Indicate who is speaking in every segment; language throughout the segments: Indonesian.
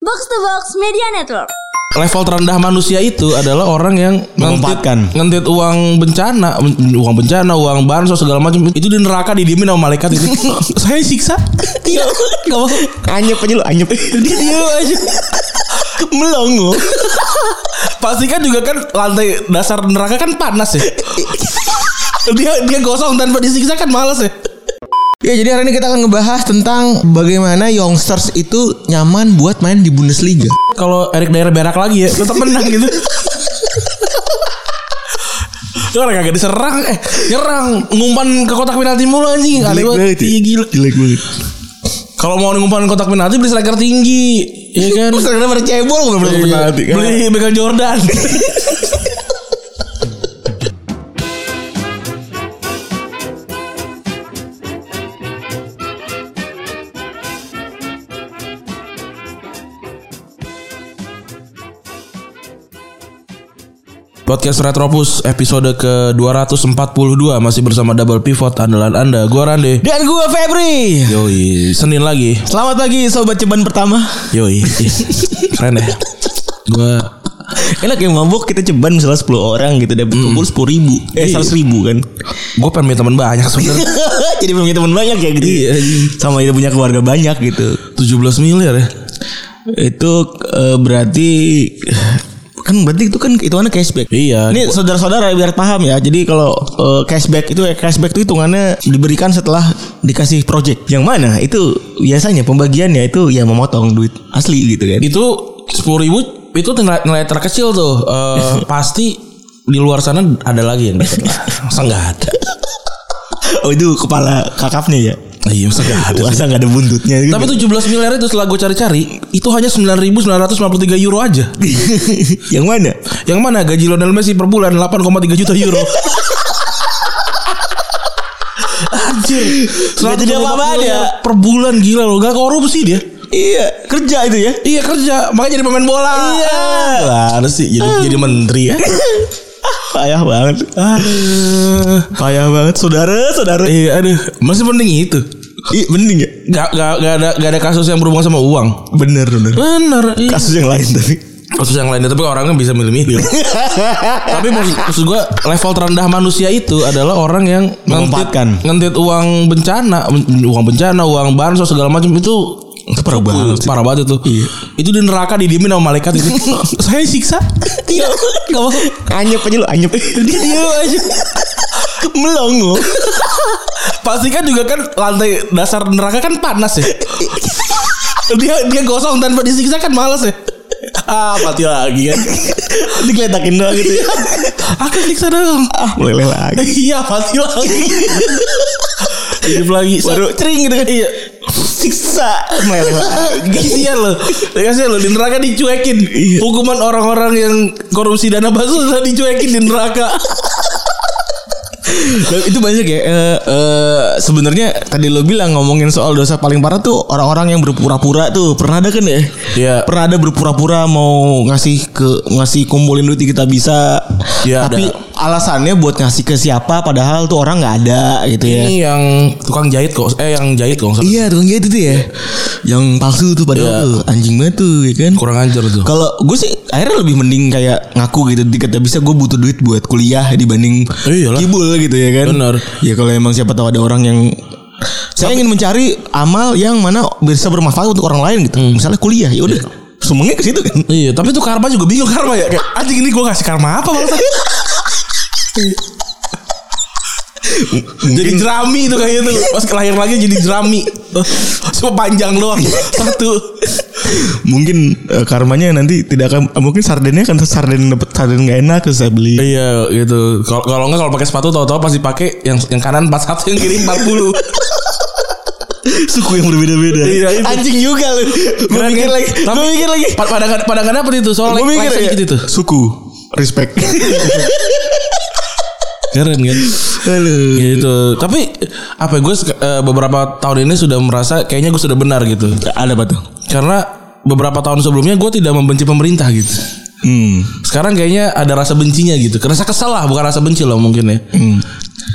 Speaker 1: Box to Box Media Network.
Speaker 2: level terendah manusia itu adalah orang yang ngentit,
Speaker 3: Memanfaatkan.
Speaker 2: ngentit uang bencana, men- uang bencana, uang bansos segala macam. Itu di neraka didiemin sama malaikat itu. Saya siksa. Tidak, enggak mau.
Speaker 3: Anyep aja lu, anyep.
Speaker 2: Dia diem aja.
Speaker 3: Melongo.
Speaker 2: Pasti kan juga kan lantai dasar neraka kan panas ya. dia dia gosong tanpa disiksa kan malas ya.
Speaker 3: Ya jadi hari ini kita akan ngebahas tentang bagaimana youngsters itu nyaman buat main di Bundesliga.
Speaker 2: Kalau Erik daerah berak lagi ya, tetap menang gitu. Lu orang kagak diserang eh nyerang ngumpan ke kotak penalti mulu anjing. Aneh banget.
Speaker 3: ya.
Speaker 2: Iya gila.
Speaker 3: Jelek banget.
Speaker 2: Kalau mau ngumpan kotak penalti beli striker tinggi, ya kan?
Speaker 3: Terus karena pada cebol bukan pada
Speaker 2: Iya,
Speaker 3: penalti kan.
Speaker 2: Beli Michael Jordan. Podcast Retropus episode ke-242 masih bersama Double Pivot andalan Anda. Gua Rande.
Speaker 3: Dan gue Febri.
Speaker 2: Yoi, Senin lagi.
Speaker 3: Selamat pagi sobat ceban pertama.
Speaker 2: Yoi. Keren ya. Gua
Speaker 3: Enak yang mabuk kita ceban misalnya 10 orang gitu dapat kumpul 10 ribu. Eh
Speaker 2: Iya.
Speaker 3: 100 ribu kan.
Speaker 2: gue pengen punya teman banyak sebenernya
Speaker 3: jadi punya teman banyak ya gitu.
Speaker 2: Iya, iya.
Speaker 3: Sama itu punya keluarga banyak gitu.
Speaker 2: 17 miliar ya
Speaker 3: Itu eh, berarti kan berarti itu kan hitungannya cashback.
Speaker 2: Iya
Speaker 3: Ini saudara-saudara biar paham ya. Jadi kalau eh, cashback itu eh, cashback itu hitungannya diberikan setelah dikasih project. Yang mana itu biasanya pembagiannya itu ya memotong duit asli gitu kan.
Speaker 2: Itu 10 ribu Itu nilai, nilai terkecil tuh Eh, Pasti di luar sana ada lagi yang dapat lah. Masa nggak ada
Speaker 3: Oh itu kepala kakapnya ya.
Speaker 2: Iya masa nggak ada
Speaker 3: Masa nggak ada buntutnya gitu.
Speaker 2: Tapi 17 miliar itu setelah gue cari-cari Itu hanya 9.953 euro aja
Speaker 3: yang mana?
Speaker 2: Yang mana gaji Lionel Messi per bulan 8,3 juta euro Anjir
Speaker 3: Nggak jadi apa-apaan ya.
Speaker 2: Per bulan gila loh Gak korupsi dia
Speaker 3: Iya, kerja itu ya.
Speaker 2: Iya kerja Makanya jadi pemain bola
Speaker 3: Iya.
Speaker 2: Lah harus sih jadi, jadi menteri ya
Speaker 3: Payah banget.
Speaker 2: Aduh
Speaker 3: Payah banget saudara, saudara.
Speaker 2: Iya aduh Masih penting itu
Speaker 3: Ih, mending ya?
Speaker 2: Gak, gak, gak, ada, gak ada kasus yang berhubungan sama uang
Speaker 3: Bener, bener.
Speaker 2: Bener iya.
Speaker 3: Kasus yang lain tapi.
Speaker 2: Kasus yang lain Tapi orangnya bisa milih-milih Tapi maksud, maksud gue Level terendah manusia itu Adalah orang yang Ngentit,
Speaker 3: Memanfaatkan.
Speaker 2: ngentit uang bencana men- Uang bencana Uang bansos segala macam Itu
Speaker 3: Itu parah banget.
Speaker 2: Parah banget itu Itu di neraka didiemin sama malaikat itu Saya siksa Tidak Iya, Gak mau
Speaker 3: Anyep aja lu, anyep.
Speaker 2: Dia diem aja
Speaker 3: Melongo.
Speaker 2: Pasti kan juga kan lantai dasar neraka kan panas ya. dia dia gosong tanpa disiksa kan malas ya. Ah mati lagi kan.
Speaker 3: Dikeletakin doang gitu ya.
Speaker 2: Aku siksa dong.
Speaker 3: Ah, meleleh lagi.
Speaker 2: Iya mati lagi. Hidup lagi.
Speaker 3: Baru
Speaker 2: cering gitu kan. Iya.
Speaker 3: Siksa. Meleleh
Speaker 2: Kasihan loh. Kasihan loh di neraka dicuekin. Hukuman orang-orang yang korupsi dana bansos dicuekin di neraka.
Speaker 3: Loh, itu banyak ya. Eh, eh, Sebenarnya tadi lo bilang ngomongin soal dosa paling parah tuh orang-orang yang berpura-pura tuh pernah ada kan ya?
Speaker 2: Iya.
Speaker 3: Pernah ada berpura-pura mau ngasih ke ngasih kumpulin duit kita bisa.
Speaker 2: Iya,
Speaker 3: Tapi
Speaker 2: ada.
Speaker 3: alasannya buat ngasih ke siapa padahal tuh orang nggak ada gitu ya.
Speaker 2: Ini yang tukang jahit kok. Eh yang jahit kok. nggak salah.
Speaker 3: Iya tukang jahit itu ya Yang palsu tuh padahal
Speaker 2: Iya.
Speaker 3: tuh Anjing banget tuh ya kan
Speaker 2: Kurang ajar tuh.
Speaker 3: Kalau gue sih akhirnya lebih mending kayak ngaku gitu Dikata bisa gue butuh duit buat kuliah dibanding
Speaker 2: Iyalah.
Speaker 3: kibul gitu ya kan
Speaker 2: Bener.
Speaker 3: Ya kalau emang siapa tahu ada orang yang Saya ingin mencari amal yang mana bisa bermanfaat untuk orang lain gitu Misalnya kuliah ya udah Sumengnya ke situ kan
Speaker 2: Iya, tapi tuh karma juga bingung karma ya. Kayak anjing ini gue kasih karma apa maksudnya? jadi jerami itu kayaknya tuh. gitu. Pas lahir lagi jadi jerami. Cuma panjang doang. Satu.
Speaker 3: Mungkin eh, karmanya nanti tidak akan Mungkin sardennya kan sarden dapet sarden gak enak Terus saya beli
Speaker 2: Iya gitu. Kalau kalau enggak kalau pakai sepatu tahu-tahu pasti pakai yang yang kanan 41 yang kiri 40.
Speaker 3: suku yang berbeda-beda
Speaker 2: Iya, itu.
Speaker 3: Anjing juga lu Gue
Speaker 2: Keren,
Speaker 3: mikir
Speaker 2: kan?
Speaker 3: lagi Gue mikir lagi
Speaker 2: Pa- Pada pada pada kadang apa itu soalnya like,
Speaker 3: Gue
Speaker 2: like
Speaker 3: mikir ya,
Speaker 2: sedikit itu.
Speaker 3: Suku Respect
Speaker 2: Keren kan.
Speaker 3: Halo
Speaker 2: Gitu. Tapi apa ya, gue eh, beberapa tahun ini sudah merasa kayaknya gue sudah benar gitu.
Speaker 3: Ada apa tuh?
Speaker 2: Karena beberapa tahun sebelumnya gue tidak membenci pemerintah gitu.
Speaker 3: Hmm
Speaker 2: Sekarang kayaknya ada rasa bencinya gitu. Rasa kesel lah bukan rasa benci lah mungkin ya.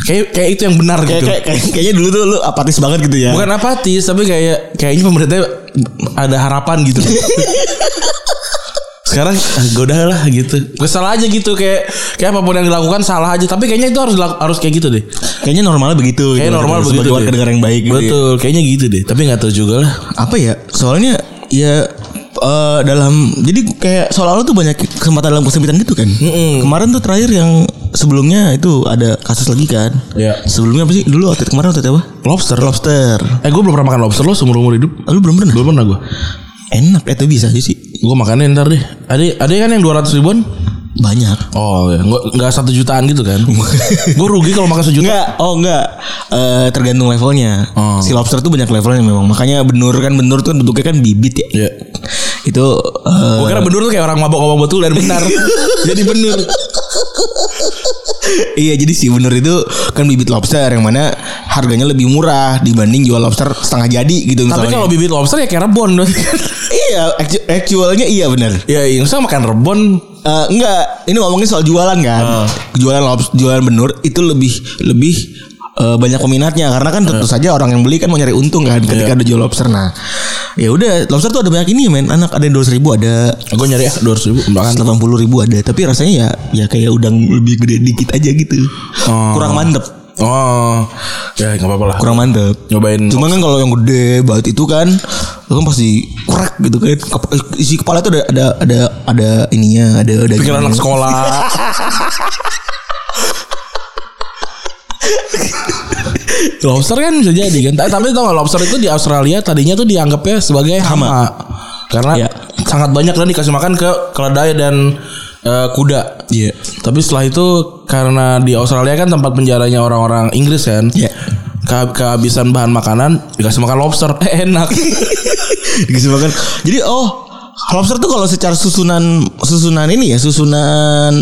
Speaker 2: Kayak kayak itu yang benar
Speaker 3: Kayak,
Speaker 2: gitu.
Speaker 3: kayak- kayak- kayaknya dulu tuh lu apatis banget gitu ya.
Speaker 2: Bukan apatis tapi kayak kayaknya pemerintah ada harapan gitu. Sekarang ah, gue udah lah gitu. Kesal aja gitu kayak kayak apapun yang dilakukan salah aja tapi kayaknya itu harus dilak- harus kayak gitu deh.
Speaker 3: Kayaknya normalnya begitu.
Speaker 2: Kayak
Speaker 3: gitu.
Speaker 2: normal
Speaker 3: Sebagai
Speaker 2: begitu.
Speaker 3: warga
Speaker 2: deh.
Speaker 3: negara yang baik gitu. ya.
Speaker 2: Betul, kayaknya gitu deh. Tapi nggak tahu juga lah.
Speaker 3: apa ya soalnya ya eh, dalam jadi kayak soal tuh banyak kesempatan dalam kesempitan gitu kan kemarin tuh terakhir yang sebelumnya itu ada kasus lagi kan
Speaker 2: Iya.
Speaker 3: sebelumnya apa sih dulu otot kemarin otot apa
Speaker 2: Lobster.
Speaker 3: lobster
Speaker 2: Eh gue belum pernah makan lobster lo seumur umur hidup.
Speaker 3: lu belum pernah
Speaker 2: Belum pernah gue.
Speaker 3: enak eh, itu bisa aja sih
Speaker 2: Gue makannya ntar deh. Ada ada kan yang 200 ribuan?
Speaker 3: banyak
Speaker 2: Oh, ya. nggak nggak satu jutaan gitu kan? gue rugi kalau makan sejuta.
Speaker 3: Enggak, oh enggak. Eh tergantung levelnya.
Speaker 2: Oh.
Speaker 3: Si lobster tuh banyak levelnya memang. Makanya benur kan benur tuh bentuknya kan bibit ya.
Speaker 2: Iya.
Speaker 3: Itu eh,
Speaker 2: Gue kira bener tuh kayak orang mabok-mabok betul dan benar. Jadi bener.
Speaker 3: Iya jadi si bener itu kan bibit lobster yang mana harganya lebih murah dibanding jual lobster setengah jadi gitu
Speaker 2: Tapi
Speaker 3: misalnya.
Speaker 2: kalau bibit lobster ya kayak rebon.
Speaker 3: iya actu- actualnya iya bener.
Speaker 2: ya, yang saya makan rebon
Speaker 3: Eh, enggak, ini ngomongin soal
Speaker 2: Ah.
Speaker 3: jualan kan. Jualan lobster, jualan benur itu lebih lebih eh, banyak peminatnya karena kan
Speaker 2: Ah.
Speaker 3: tentu saja orang yang beli kan mau nyari untung kan ketika
Speaker 2: Iya.
Speaker 3: ada jual lobster. Nah, ya udah lobster tuh ada banyak ini men. Anak ada dua ribu ada
Speaker 2: gue nyari ah 200 ribu makan.
Speaker 3: delapan puluh ribu ada. Tapi rasanya ya ya kayak udang lebih gede dikit aja gitu. Kurang mantep,
Speaker 2: Oh, ya nggak apa-apa lah.
Speaker 3: kurang mantep.
Speaker 2: Nyobain.
Speaker 3: Cuma kan kalau yang gede banget itu kan itu kan pasti kurek gitu kan. Kep- Isi kepala itu ada ada ada ada ininya, ada ada
Speaker 2: pikiran anak
Speaker 3: ininya.
Speaker 2: sekolah. lobster kan bisa jadi kan. Ta- Tapi tau gak lobster itu di Australia tadinya tuh dianggapnya sebagai hama. Ya. Karena
Speaker 3: Iya.
Speaker 2: sangat banyak dan dikasih makan ke keledai dan eh, kuda.
Speaker 3: Iya.
Speaker 2: Tapi setelah itu karena di Australia kan tempat penjaranya orang-orang Inggris kan.
Speaker 3: Iya.
Speaker 2: Ke- kehabisan bahan makanan dikasih makan lobster. Eh, enak.
Speaker 3: Dikasih makan. Gitu Jadi oh lobster tuh kalau secara susunan susunan ini ya susunan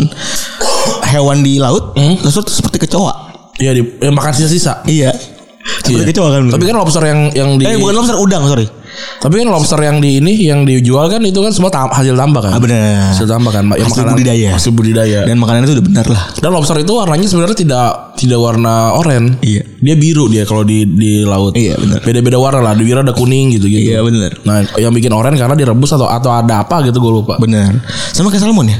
Speaker 3: hewan di laut, lobster tuh seperti kecoa.
Speaker 2: Iya, di, eh, makan sisa-sisa.
Speaker 3: Iya. Seperti kecoa kan.
Speaker 2: Tapi kan lobster yang yang di
Speaker 3: eh bukan lobster udang sorry.
Speaker 2: Tapi kan lobster yang di ini yang dijual kan itu kan semua tam- hasil tambah kan?
Speaker 3: Ah, bener.
Speaker 2: Hasil tambah kan, Mak. Ya,
Speaker 3: Hasil budidaya. Iya.
Speaker 2: Hasil budidaya. Dan,
Speaker 3: Dan makanannya tuh udah benar lah.
Speaker 2: lobster itu warnanya sebenarnya tidak tidak warna oranye.
Speaker 3: Iya.
Speaker 2: Dia biru dia kalau di di laut.
Speaker 3: Iya, benar. Iya,
Speaker 2: Beda-beda warna lah. Di biru ada kuning gitu gitu.
Speaker 3: benar.
Speaker 2: Nah, yang bikin oranye karena direbus atau atau ada apa gitu gue lupa.
Speaker 3: Benar. Sama kayak salmon ya.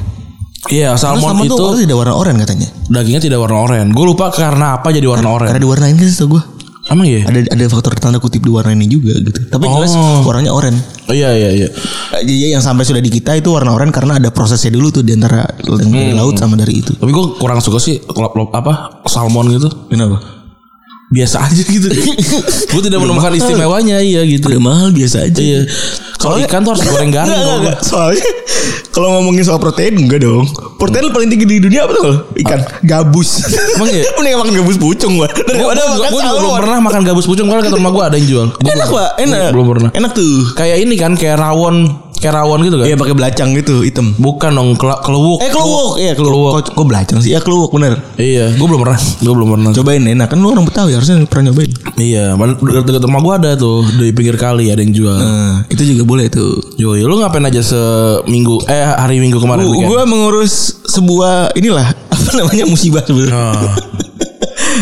Speaker 2: Iya,
Speaker 3: Karena
Speaker 2: salmon,
Speaker 3: salmon
Speaker 2: itu
Speaker 3: tuh tidak warna oranye katanya.
Speaker 2: dagingnya tidak warna oranye. Gue lupa karena apa jadi warna
Speaker 3: Karena
Speaker 2: oranye.
Speaker 3: diwarnain kan setahu gue.
Speaker 2: Emang iya?
Speaker 3: ada ada faktor tanda kutip diwarnainnya juga gitu. Tapi jelas
Speaker 2: Oh.
Speaker 3: warnanya oranye.
Speaker 2: Iya iya iya.
Speaker 3: Jadi yang sampai sudah di kita itu warna oranye karena ada prosesnya dulu tuh di antara yang
Speaker 2: Hmm.
Speaker 3: dari laut sama dari itu.
Speaker 2: Tapi gue kurang suka sih lop, lop, apa salmon gitu.
Speaker 3: Kenapa?
Speaker 2: Biasa aja gitu. gue tidak menemukan istimewanya iya gitu.
Speaker 3: Udah mahal biasa aja.
Speaker 2: Iya. Kalau ikan tuh harus goreng garing.
Speaker 3: Enggak,
Speaker 2: kalau gua.
Speaker 3: enggak, enggak. Soalnya kalau ngomongin soal protein enggak dong. Protein paling tinggi di dunia apa tuh? Ikan gabus.
Speaker 2: Hmm. Ah. Emang iya?
Speaker 3: Mending makan gabus pucung gua.
Speaker 2: Gua
Speaker 3: Daripada
Speaker 2: gua-
Speaker 3: makan
Speaker 2: gua juga belum
Speaker 3: salmon.
Speaker 2: pernah makan gabus pucung karena kantor rumah gue ada yang jual. Gua
Speaker 3: Enak,
Speaker 2: belum-
Speaker 3: Pak. Enak.
Speaker 2: Belum pernah.
Speaker 3: Enak tuh.
Speaker 2: Kayak ini kan kayak rawon, kayak rawon gitu kan.
Speaker 3: Iya pakai belacang gitu, hitam.
Speaker 2: Bukan dong kela- kelewuk.
Speaker 3: Eh keluwuk, iya keluwuk. Kok, kok belacang sih? Ya keluwuk bener.
Speaker 2: Iya, gue belum pernah. Gue belum pernah.
Speaker 3: Cobain enak kan lu orang Betawi harusnya pernah nyobain.
Speaker 2: Iya, mana- dekat dekat rumah gue ada tuh di pinggir kali ada yang jual.
Speaker 3: Eh, itu juga boleh tuh.
Speaker 2: Yo, yo, lu ngapain aja seminggu? Eh, hari minggu kemarin?
Speaker 3: Gu-
Speaker 2: weekend?
Speaker 3: Gua mengurus sebuah inilah apa namanya musibah sebenarnya.
Speaker 2: Ah.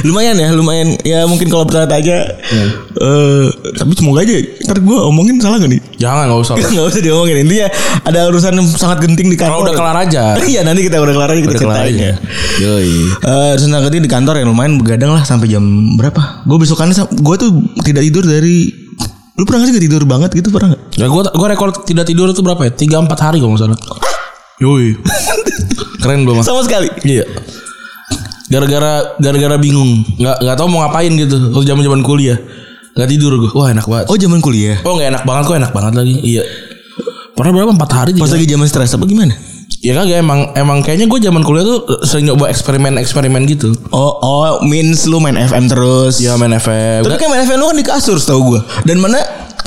Speaker 3: lumayan ya, lumayan. Ya mungkin kalau bertanya aja. eh, tapi semoga aja ntar gua omongin salah gak nih?
Speaker 2: Jangan nggak usah.
Speaker 3: Gak usah diomongin intinya ada urusan yang sangat genting di
Speaker 2: Kalau Eh,
Speaker 3: kantor.
Speaker 2: udah kelar aja.
Speaker 3: Iya nanti kita udah kelar aja kita
Speaker 2: Udah kelar
Speaker 3: ceritain
Speaker 2: aja.
Speaker 3: ya.
Speaker 2: Yoi.
Speaker 3: Eh, urusan sangat genting di kantor yang lumayan begadang lah sampai jam berapa? Gue besokannya sam- gua tuh tidak tidur dari lu pernah gak sih gak tidur banget gitu pernah gak?
Speaker 2: Ya gua gua rekor tidak tidur itu berapa ya? 3 4 hari kalau enggak salah. Yoi. Keren belum Mas?
Speaker 3: Sama sekali.
Speaker 2: Iya. Gara-gara gara-gara bingung, nggak nggak tahu mau ngapain gitu. Waktu zaman-zaman kuliah. nggak tidur gua. Wah, enak banget.
Speaker 3: Oh zaman kuliah.
Speaker 2: Oh, nggak enak banget kok, enak banget lagi. Iya. Pernah berapa 4 hari
Speaker 3: Pas
Speaker 2: tidur.
Speaker 3: lagi zaman stres apa gimana?
Speaker 2: Ya kagak emang emang kayaknya gua zaman kuliah tuh eh, sering nyoba eksperimen-eksperimen gitu.
Speaker 3: Oh, oh, means lu main FM terus.
Speaker 2: Ya main FM.
Speaker 3: Tapi kan main FM lu kan di kasur setahu gua. Dan mana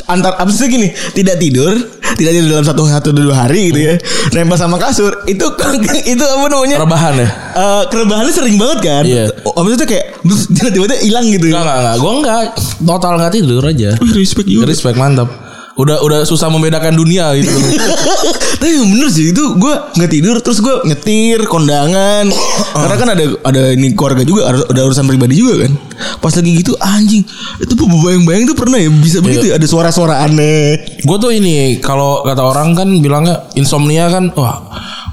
Speaker 3: antar abis itu gini, tidak tidur, tidak tidur dalam satu satu dua hari gitu ya. Nempel sama kasur itu kan itu apa namanya?
Speaker 2: Rebahan ya?
Speaker 3: Eh, kerebahannya sering banget kan?
Speaker 2: Iya.
Speaker 3: Oh, abis itu kayak terus tiba-tiba hilang gitu.
Speaker 2: Enggak, enggak, enggak. Gua enggak total enggak tidur aja.
Speaker 3: Wih, respect you.
Speaker 2: Respect mantap. udah udah susah membedakan dunia gitu.
Speaker 3: Tapi yang bener sih itu gue nggak tidur terus gue nyetir kondangan karena kan ada ada ini keluarga juga ada, ada urusan pribadi juga kan. Pas lagi gitu anjing itu bayang-bayang tuh pernah ya bisa
Speaker 2: Iya.
Speaker 3: begitu ya? ada suara-suara aneh.
Speaker 2: gue tuh ini kalau kata orang kan bilangnya insomnia kan wah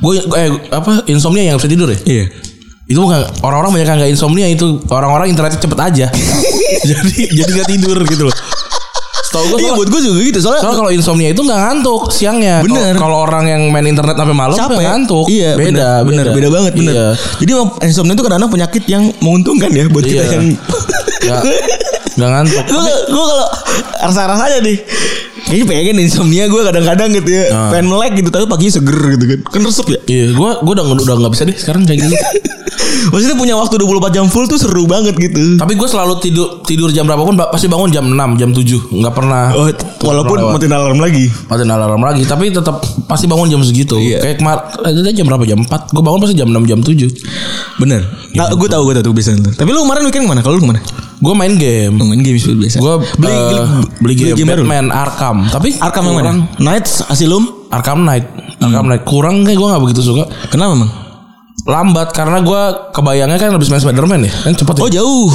Speaker 2: gue eh apa insomnia yang nggak bisa tidur ya
Speaker 3: Iya.
Speaker 2: itu bukan orang-orang banyak yang nggak insomnia itu orang-orang internetnya cepet aja jadi jadi nggak tidur gitu loh setahu gue
Speaker 3: Iya buat gue juga gitu soalnya
Speaker 2: Soalnya kalau insomnia itu nggak ngantuk siangnya. Kalau-
Speaker 3: Bener.
Speaker 2: Kalau orang yang main internet sampai malam
Speaker 3: capek
Speaker 2: nggak ngantuk.
Speaker 3: Iya,
Speaker 2: beda,
Speaker 3: bener, beda, banget, bener.
Speaker 2: Iya.
Speaker 3: Jadi emang insomnia itu kadang-kadang penyakit yang menguntungkan ya buat kita
Speaker 2: Iya.
Speaker 3: yang
Speaker 2: Nggak- nggak ngantuk.
Speaker 3: gue gue kalau rasa-rasanya nih kayaknya pengen insomnia gue kadang-kadang gitu ya
Speaker 2: Ah.
Speaker 3: pengen melek gitu tapi paginya seger gitu kan kan resep ya
Speaker 2: Iya, gua gua udah udah nggak bisa deh sekarang kayak gini.
Speaker 3: maksudnya punya waktu 24 jam full tuh seru banget gitu
Speaker 2: Tapi gue selalu tidur tidur jam berapapun ba- pasti bangun jam 6, jam 7. nggak pernah
Speaker 3: Oh, t- walaupun matiin alarm lagi
Speaker 2: matiin alarm lagi, tapi tetap pasti bangun jam segitu.
Speaker 3: Iya.
Speaker 2: Kayak kemarin itu jam berapa? Jam 4. Gue bangun pasti jam 6, jam 7.
Speaker 3: bener nah, gue tau gue tau tuh biasanya tuh. tapi lu kemarin weekend kemana kalau lu kemana
Speaker 2: Gue main game.
Speaker 3: main game seperti biasa
Speaker 2: Gue
Speaker 3: beli,
Speaker 2: eh, beli, game,
Speaker 3: baru
Speaker 2: Batman Arkham. Tapi
Speaker 3: Arkham yang mana Hmm.
Speaker 2: kurang-
Speaker 3: Knights Asylum
Speaker 2: Arkham Knight. Arkham Knight kurang kayak gue nggak begitu suka.
Speaker 3: kenapa emang
Speaker 2: Lambat karena gue kebayangnya kan lebih main Spiderman ya. Kan cepet ya.
Speaker 3: oh Iya, jauh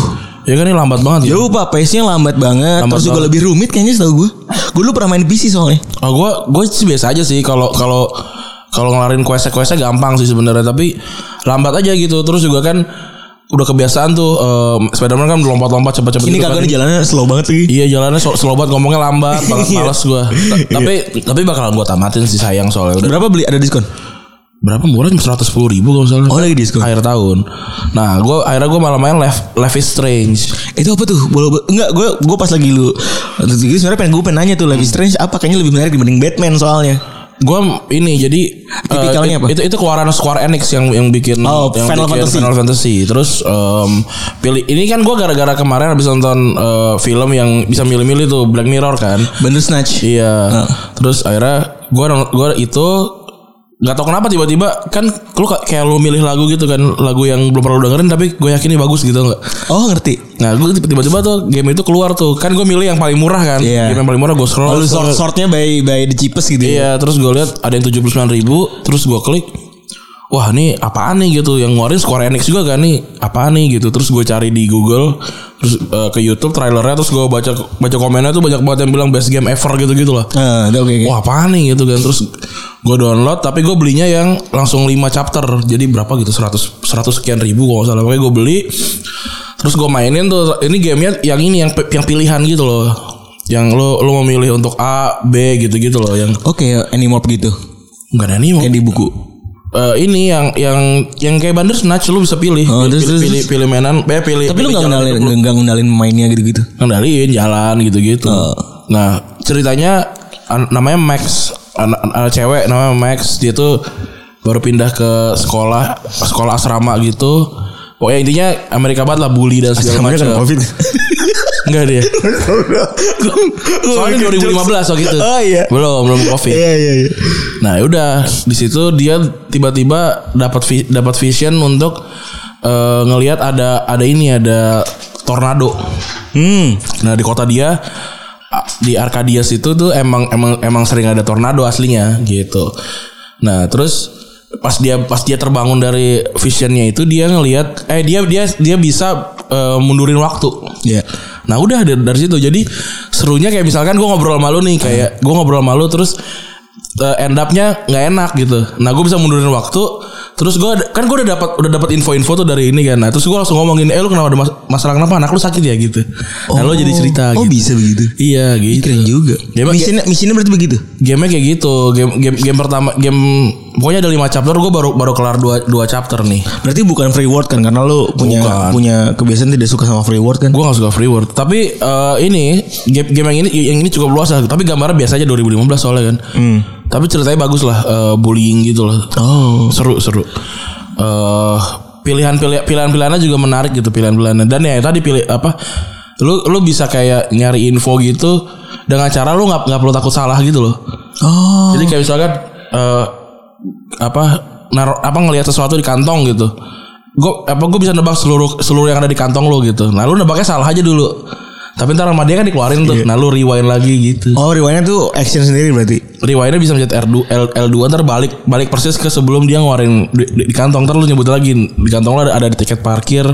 Speaker 2: ya kan ini lambat banget ya.
Speaker 3: Jauh pak, pace-nya lambat banget.
Speaker 2: Lambat
Speaker 3: Terus juga
Speaker 2: banget.
Speaker 3: lebih rumit kayaknya setahu gue. Gue dulu pernah main PC soalnya.
Speaker 2: Oh, gue gue sih biasa aja sih kalau kalau kalau ngelarin quest questnya gampang sih sebenarnya tapi lambat aja gitu terus juga kan udah kebiasaan tuh eh, Spiderman kan lompat-lompat cepet-cepet
Speaker 3: Ini
Speaker 2: gitu
Speaker 3: kagak
Speaker 2: kan.
Speaker 3: nih jalannya slow banget sih.
Speaker 2: Iya jalannya so- slow banget ngomongnya lambat banget
Speaker 3: Iya.
Speaker 2: males gue tapi tapi bakalan gue tamatin sih sayang soalnya udah
Speaker 3: Berapa beli ada diskon?
Speaker 2: berapa murah cuma seratus puluh ribu kalau misalnya
Speaker 3: Oh lagi diskon.
Speaker 2: akhir tahun nah gue akhirnya gue malah main Life, Life is Strange
Speaker 3: Itu apa tuh? Bola bo- enggak gue gue pas lagi lu Jadi sebenarnya pengen gue pengen nanya tuh Life is Strange apa kayaknya lebih menarik dibanding Batman soalnya.
Speaker 2: gue ini jadi
Speaker 3: Tipikalnya
Speaker 2: eh,
Speaker 3: apa?
Speaker 2: itu itu keluaran Square Enix yang yang bikin
Speaker 3: Oh,
Speaker 2: yang
Speaker 3: Final
Speaker 2: bikin
Speaker 3: Fantasy.
Speaker 2: Final Fantasy terus em, pilih ini kan gue gara-gara kemarin habis nonton eh, film yang bisa milih-milih tuh Black Mirror kan
Speaker 3: Bener snatch.
Speaker 2: iya terus akhirnya gue gue itu nggak tau kenapa tiba-tiba kan lu ka- kayak lu milih lagu gitu kan lagu yang belum pernah lu dengerin tapi gue yakin ini bagus gitu nggak
Speaker 3: Oh ngerti.
Speaker 2: nah gue tiba-tiba tuh game itu keluar tuh kan gue milih yang paling murah kan
Speaker 3: Iya.
Speaker 2: game yang paling murah gue scroll
Speaker 3: Lalu
Speaker 2: scroll.
Speaker 3: short shortnya by by the cheapest gitu. ya.
Speaker 2: Iya, terus gue lihat ada yang tujuh ribu, terus gue klik, wah ini apaan nih gitu, yang ngeluarin Square Enix juga kan nih, apaan nih gitu, terus gue cari di Google, terus eh, ke YouTube trailernya, terus gue baca baca komennya tuh banyak banget yang bilang best game ever gitu gitu lah.
Speaker 3: Ah, udah oke. oke.
Speaker 2: Wah apaan nih gitu kan Terus gue download Tapi gue belinya yang langsung 5 chapter Jadi berapa gitu 100, 100 sekian ribu kalau nggak salah Makanya gue beli Terus gue mainin tuh Ini gamenya yang ini Yang, pe- yang pilihan gitu loh Yang lo, lo memilih untuk A, B gitu-gitu loh Yang
Speaker 3: Oke, animorph gitu.
Speaker 2: Enggak ada nih mau.
Speaker 3: Yang di buku.
Speaker 2: Eh, ini yang yang yang kayak Bandersnatch lu bisa pilih.
Speaker 3: Oh,
Speaker 2: pilih,
Speaker 3: terus, terus,
Speaker 2: pilih,
Speaker 3: terus.
Speaker 2: pilih mainan, eh, pilih.
Speaker 3: Tapi lu
Speaker 2: pilih
Speaker 3: nggak
Speaker 2: jalan
Speaker 3: ngendalin
Speaker 2: hidup lu.
Speaker 3: nggak ngendalin mainnya gitu-gitu.
Speaker 2: ngendaliin jalan gitu-gitu.
Speaker 3: Oh.
Speaker 2: Nah, ceritanya an- namanya Max, anak anak cewek namanya Max, dia tuh baru pindah ke sekolah sekolah asrama gitu. Pokoknya intinya Amerika banget lah bully dan segala
Speaker 3: Namanya kan
Speaker 2: macam.
Speaker 3: covid.
Speaker 2: Enggak dia.
Speaker 3: kan
Speaker 2: Soalnya 2015 waktu itu.
Speaker 3: Oh iya.
Speaker 2: Belum, belum Covid.
Speaker 3: Iya iya iya.
Speaker 2: Nah, udah di situ dia tiba-tiba dapat vi- dapat vision untuk eh, ngelihat ada ada ini ada tornado.
Speaker 3: Hmm.
Speaker 2: Nah, di kota dia a- di Arkadia situ tuh emang emang emang sering ada tornado aslinya gitu. Nah, terus pas dia pas dia terbangun dari visionnya itu dia ngelihat eh dia dia dia bisa eh, mundurin waktu.
Speaker 3: Iya.
Speaker 2: Nah udah dari, dari situ jadi serunya kayak misalkan gue ngobrol sama lu nih kayak gue ngobrol sama lu terus eh, end up-nya nggak enak gitu. Nah gue bisa mundurin waktu terus gue kan gue udah dapat udah dapat info-info tuh dari ini kan. Nah terus gue langsung ngomongin eh lu kenapa ada mas- masalah kenapa anak lu sakit ya gitu. Nah lu jadi cerita
Speaker 3: Oh
Speaker 2: gitu.
Speaker 3: bisa begitu.
Speaker 2: Iya gitu.
Speaker 3: Keren juga.
Speaker 2: Ya, emang
Speaker 3: misinya, misinya berarti begitu.
Speaker 2: Game-nya kayak gitu. Game game game pertama game pokoknya ada 5 chapter gue baru baru kelar 2 2 chapter nih.
Speaker 3: Berarti bukan free word kan karena lu punya
Speaker 2: Bukan.
Speaker 3: punya kebiasaan tidak suka sama free word kan.
Speaker 2: Gue gak suka free word Tapi eh, ini game, game yang ini yang ini cukup luas lah Tapi gambarnya biasa aja 2015 soalnya kan
Speaker 3: Hmm.
Speaker 2: Tapi ceritanya bagus lah eh, Bullying gitu lah
Speaker 3: Oh.
Speaker 2: Seru seru Eh, pilihan pilihan pilihan pilihannya juga menarik gitu pilihan pilihannya dan ya tadi pilih apa lu lu bisa kayak nyari info gitu dengan cara lu nggak nggak perlu takut salah gitu loh
Speaker 3: Oh.
Speaker 2: jadi kayak misalkan eh apa naro apa ngelihat sesuatu di kantong gitu. Gue apa gue bisa nebak seluruh seluruh yang ada di kantong lo gitu. Nah, lu nebaknya salah aja dulu. Tapi ntar sama dia kan dikeluarin tuh. Nah lu rewind lagi gitu.
Speaker 3: Oh riwayatnya tuh action sendiri berarti.
Speaker 2: Rewindnya bisa mencet R2, L, L2 ntar balik balik persis ke sebelum dia ngeluarin di, di- di kantong ntar lu nyebut lagi di kantong lu ada, ada tiket parkir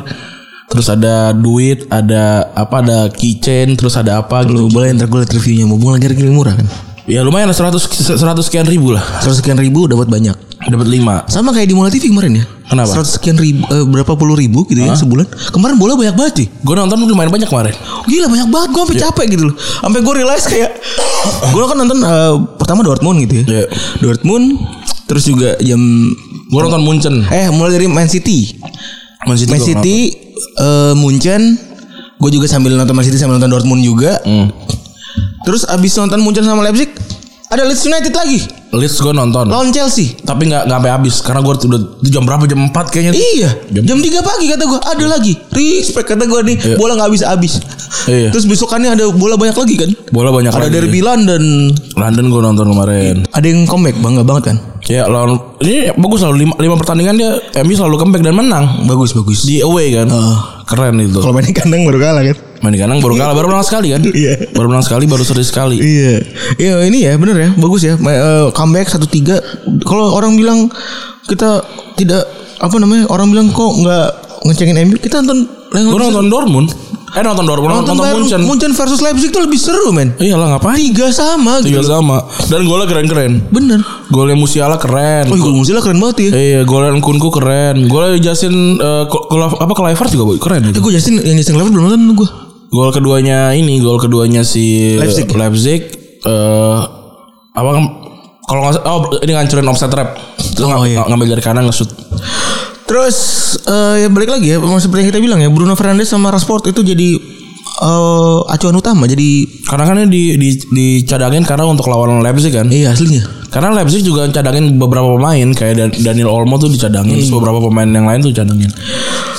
Speaker 2: terus ada duit ada apa ada keychain terus ada apa gitu
Speaker 3: Lu boleh ntar gue liat reviewnya mau lagi harga murah kan.
Speaker 2: ya lumayan lah 100 100 sekian ribu lah
Speaker 3: Seratus sekian ribu dapat banyak.
Speaker 2: dapat 5
Speaker 3: Sama kayak di Mola TV kemarin ya.
Speaker 2: Kenapa?
Speaker 3: Seratus sekian ribu, eh, berapa puluh ribu gitu ya sebulan. Kemarin bola banyak banget sih.
Speaker 2: gue nonton lumayan banyak kemarin
Speaker 3: Gila banyak banget gue sampai capek gitu loh. Sampai gue realize kayak gue kan nonton eh, pertama Dortmund gitu ya.
Speaker 2: Iya.
Speaker 3: Dortmund terus juga jam
Speaker 2: gue nonton Munchen
Speaker 3: eh mulai dari Man City.
Speaker 2: Man City
Speaker 3: Man
Speaker 2: gua
Speaker 3: City eh, Munchen gue juga sambil nonton Man City sambil nonton Dortmund juga. Terus abis nonton Munchen sama Leipzig ada Leeds United lagi
Speaker 2: Leeds gue nonton
Speaker 3: lawan Chelsea.
Speaker 2: tapi nggak nggak sampai habis karena gue udah itu jam berapa jam 4 kayaknya
Speaker 3: Iya,
Speaker 2: Jam-
Speaker 3: jam, 3 pagi kata gua ada lagi. Respect kata gua nih,
Speaker 2: Iya.
Speaker 3: bola nggak habis habis.
Speaker 2: Iya.
Speaker 3: Terus besokannya ada bola banyak lagi kan?
Speaker 2: bola banyak
Speaker 3: ada
Speaker 2: lagi.
Speaker 3: derby London.
Speaker 2: London gue nonton kemarin
Speaker 3: Ada yang comeback bangga banget kan?
Speaker 2: Ya lawan ini bagus selalu lima, lima pertandingan dia MU selalu comeback dan menang
Speaker 3: Bagus bagus.
Speaker 2: di away kan.
Speaker 3: Heeh.
Speaker 2: Keren itu.
Speaker 3: Kalau main di kandang baru kalah kan?
Speaker 2: Main di kandang baru kalah baru menang sekali kan.
Speaker 3: Iya.
Speaker 2: Baru menang sekali baru seri sekali.
Speaker 3: Iya. Iya ini ya bener ya bagus ya Ma- eh, comeback satu tiga. Kalau orang bilang kita tidak apa namanya orang bilang kok nggak ngecengin MU kita nonton yang
Speaker 2: Gue
Speaker 3: lebih
Speaker 2: nonton Dortmund. Eh nonton Dortmund
Speaker 3: seru.
Speaker 2: nonton,
Speaker 3: nonton Bayern-
Speaker 2: Munchen.
Speaker 3: Munchen versus Leipzig tuh lebih seru men.
Speaker 2: Iya lah ngapain?
Speaker 3: Tiga sama
Speaker 2: Tiga
Speaker 3: gitu.
Speaker 2: sama. Dan golnya keren-keren.
Speaker 3: Bener.
Speaker 2: Golnya Musiala keren.
Speaker 3: Oh, gol Muzila keren banget ya.
Speaker 2: Iya, golnya Kunku keren. Golnya Justin eh, Ko- Kola- apa Kluivert juga boy, keren
Speaker 3: Eh,
Speaker 2: itu.
Speaker 3: gue Justin yang Justin Lever belum nonton gue.
Speaker 2: Gol keduanya ini, gol keduanya si
Speaker 3: Leipzig.
Speaker 2: Leipzig eh apa kalau nggak sa- oh ini ngancurin offset trap. Terus
Speaker 3: Oh,
Speaker 2: ng-
Speaker 3: iya.
Speaker 2: ngambil dari kanan nge-shoot.
Speaker 3: Terus eh, ya balik lagi ya, seperti yang kita bilang ya, Bruno Fernandes sama Rashford itu jadi eh, acuan utama. Jadi
Speaker 2: Karena kan ini di, di dicadangin karena untuk lawan Leipzig kan.
Speaker 3: iya aslinya.
Speaker 2: Karena Leipzig juga cadangin beberapa pemain kayak Dan- Daniel Olmo tuh dicadangin,
Speaker 3: Hmm.
Speaker 2: terus beberapa pemain yang lain tuh dicadangin.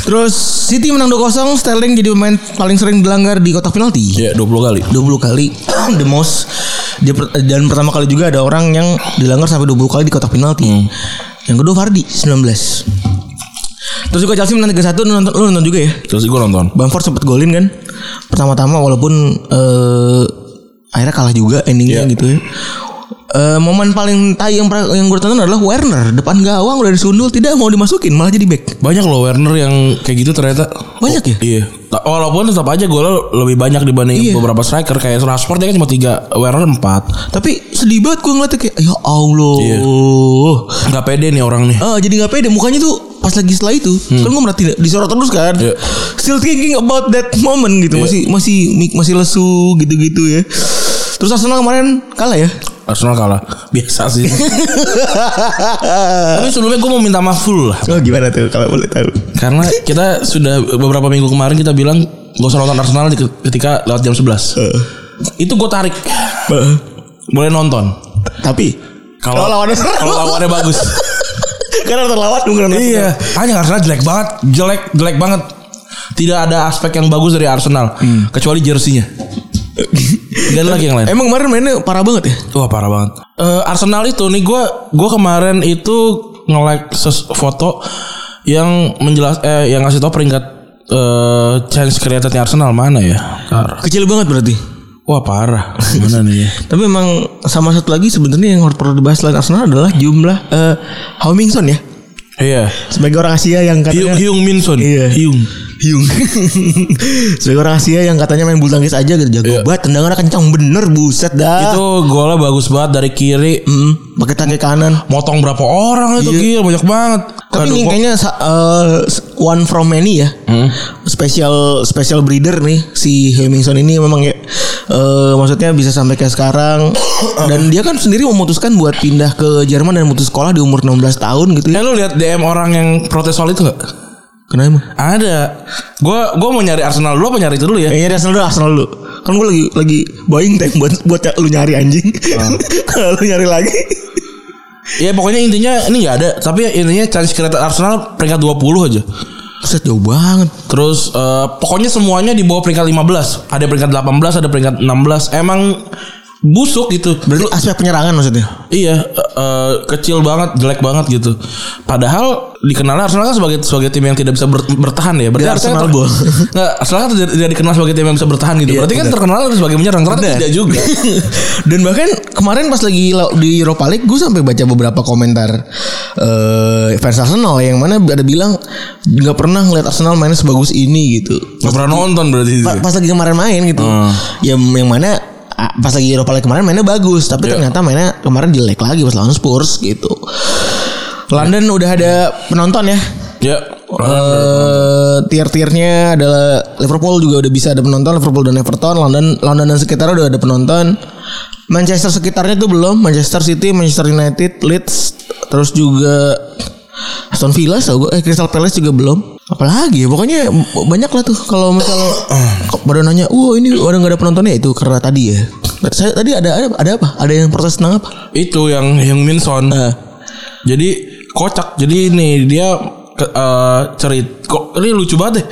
Speaker 3: Terus City menang 2-0, Sterling jadi pemain paling sering dilanggar di kotak penalti.
Speaker 2: Iya, 20 kali.
Speaker 3: 20 kali the most Dia per- dan pertama kali juga ada orang yang dilanggar sampai 20 kali di kotak penalti. Yang kedua Vardy 19. Terus juga Chelsea menang 3-1 lu nonton, lu nonton juga ya.
Speaker 2: Terus gue nonton.
Speaker 3: Bamford sempat golin kan pertama-tama walaupun eh, akhirnya kalah juga endingnya
Speaker 2: Iya.
Speaker 3: gitu ya. Eh, momen paling tai yang pra- yang gue tonton adalah Werner depan gawang udah disundul tidak mau dimasukin malah jadi back.
Speaker 2: Banyak loh Werner yang kayak gitu ternyata.
Speaker 3: Banyak ya?
Speaker 2: Iya. Ta- Walaupun tetap aja golnya lebih banyak dibanding beberapa striker kayak Rashford dia kan cuma 3, Werner 4.
Speaker 3: Tapi sedih banget gue ngeliatnya kayak ya Allah.
Speaker 2: Iya. Gak pede nih orang nih.
Speaker 3: Ah, jadi nggak pede mukanya tuh pas lagi setelah itu kan gue merhati disorot terus kan
Speaker 2: Iya.
Speaker 3: still thinking about that moment gitu masih masih mik- masih lesu gitu-gitu ya terus Arsenal kemarin kalah ya
Speaker 2: Arsenal kalah. Biasa sih. Tapi sebelumnya gue mau minta maaf dulu lah.
Speaker 3: oh gimana tuh kalau boleh tahu
Speaker 2: Karena kita sudah beberapa minggu kemarin kita bilang gak usah nonton Arsenal di- ketika lewat jam 11.
Speaker 3: Eh.
Speaker 2: Itu gue tarik. Boleh nonton.
Speaker 3: Tapi
Speaker 2: Kalau Oh, lawannya kalau lawannya bagus.
Speaker 3: karena terlawan bukan
Speaker 2: iya. Hanya Arsenal jelek banget, jelek jelek banget. Tidak ada aspek yang bagus dari Arsenal kecuali jersinya. Dan lagi yang lain.
Speaker 3: Emang kemarin mainnya parah banget ya?
Speaker 2: Wah parah banget. Eh, Arsenal itu nih gue gua kemarin itu nge-like ses- foto yang menjelas eh yang ngasih tau peringkat eh chance creatednya Arsenal mana ya? Ntar.
Speaker 3: Kecil banget berarti.
Speaker 2: Wah parah. Mana nih? ya?
Speaker 3: Tapi emang sama satu lagi sebenarnya yang harus perlu dibahas selain Arsenal adalah jumlah eh Hauminson ya.
Speaker 2: Iya.
Speaker 3: Sebagai orang Asia yang
Speaker 2: Hyung
Speaker 3: katanya
Speaker 2: Hyung Minson.
Speaker 3: Iya.
Speaker 2: Hyung.
Speaker 3: Hyung. Sebagai orang Asia yang katanya main bulu tangkis aja gitu jago
Speaker 2: Iya.
Speaker 3: banget, tendangannya kencang bener buset dah. Itu
Speaker 2: Itu golnya bagus banget dari kiri.
Speaker 3: pakai tangkai kanan.
Speaker 2: Motong berapa orang itu gila banyak banget.
Speaker 3: Tapi
Speaker 2: Aduh, Hmm.
Speaker 3: ini
Speaker 2: gua-
Speaker 3: kayaknya sa- eh, one from many ya. Special special breeder nih si Hemingson ini memang ya eh, maksudnya bisa sampai kayak sekarang dan dia kan sendiri memutuskan buat pindah ke Jerman dan mutus sekolah di umur 16 tahun gitu ya.
Speaker 2: Eh lu lihat DM orang yang protes soal itu gak?
Speaker 3: Kenapa?
Speaker 2: Ada. Gua gua mau nyari Arsenal dulu apa nyari itu dulu ya?
Speaker 3: Kayaknya Eh, iya, Arsenal dulu, Arsenal dulu. Kan gue lagi lagi buying time buat buat lu nyari anjing. Kalau lu nyari lagi.
Speaker 2: Ya pokoknya intinya ini nggak ada. Tapi intinya chance created Arsenal peringkat 20 aja.
Speaker 3: Set jauh banget.
Speaker 2: Terus eh, pokoknya semuanya di bawah peringkat 15. Ada peringkat 18, ada peringkat 16. Emang busuk gitu.
Speaker 3: Berarti aspek penyerangan maksudnya.
Speaker 2: Iya, eh, eh, kecil banget, jelek banget gitu. Padahal dikenalnya Arsenal kan sebagai sebagai tim yang tidak bisa ber- bertahan ya. Berarti
Speaker 3: Dia
Speaker 2: Arsenal
Speaker 3: Arsenal ball.
Speaker 2: Nggak, Arsenal kan tidak, tidak dikenal sebagai tim yang bisa bertahan gitu. Berarti kan terkenal sebagai menyerang, ternyata tidak juga.
Speaker 3: Dan bahkan kemarin pas lagi la- di Europa League gue sampai baca beberapa komentar eh fans Arsenal yang mana ada bilang nggak pernah ngeliat Arsenal mainnya sebagus ini gitu.
Speaker 2: Gak pernah nonton berarti.
Speaker 3: Pa- Pas lagi kemarin main gitu. Ya yang mana ah, pas lagi Europa League kemarin mainnya bagus tapi ternyata mainnya kemarin jelek lagi pas lawan Spurs gitu. London udah ada penonton ya.
Speaker 2: Ya.
Speaker 3: Eh, tier-tiernya adalah Liverpool juga udah bisa ada penonton Liverpool dan Everton London London dan sekitarnya udah ada penonton Manchester sekitarnya tuh belum Manchester City Manchester United Leeds terus juga Aston Villa setahu gue eh Crystal Palace juga belum apalagi ya pokoknya b- banyak lah tuh kalau misal kok pada nanya wah ini orang nggak ada penontonnya itu karena tadi ya saya tadi ada ada, ada apa ada yang protes tentang apa
Speaker 2: Itu yang yang Minson. Jadi kocak. Jadi ini dia ke, eh, cerit kok ini lucu banget deh.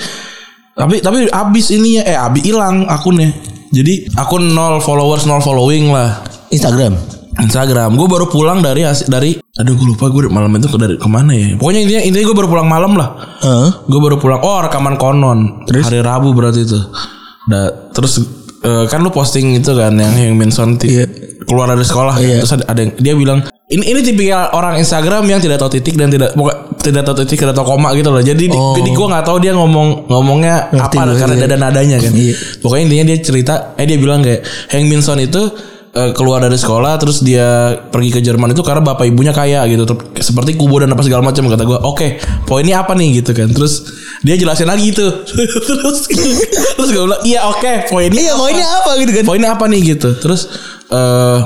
Speaker 2: Tapi tapi abis ininya eh abis hilang akunnya. Jadi akun nol followers nol following lah.
Speaker 3: Instagram
Speaker 2: Instagram. Gue baru pulang dari hasi- dari aduh gue lupa gue malam itu ke dari kemana ya. Pokoknya intinya intinya gue baru pulang malam lah.
Speaker 3: Heeh.
Speaker 2: Gue baru pulang. Oh rekaman konon. Hari Rabu berarti itu. Nah, terus eh, kan lu posting itu kan yang yang mention ti-
Speaker 3: Iya.
Speaker 2: keluar dari sekolah. kan. Terus ada, ada yang dia bilang ini ini tipikal orang Instagram yang tidak tahu titik dan tidak pokok- tidak tahu titik tidak tahu koma gitu loh. Jadi di-
Speaker 3: Oh.
Speaker 2: jadi gue nggak tahu dia ngomong ngomongnya
Speaker 3: Ngerti
Speaker 2: apa
Speaker 3: gue,
Speaker 2: karena
Speaker 3: iya.
Speaker 2: ada nadanya kan.
Speaker 3: Iya.
Speaker 2: Pokoknya intinya dia cerita eh dia bilang kayak Hank Minson itu eh, keluar dari sekolah terus dia pergi ke Jerman itu karena bapak ibunya kaya gitu Ter- seperti kubo dan apa segala macam kata gue oke poinnya apa nih gitu kan terus dia jelasin lagi itu terus terus gue bilang iya oke poinnya
Speaker 3: iya poinnya apa gitu kan
Speaker 2: poinnya apa nih gitu terus eh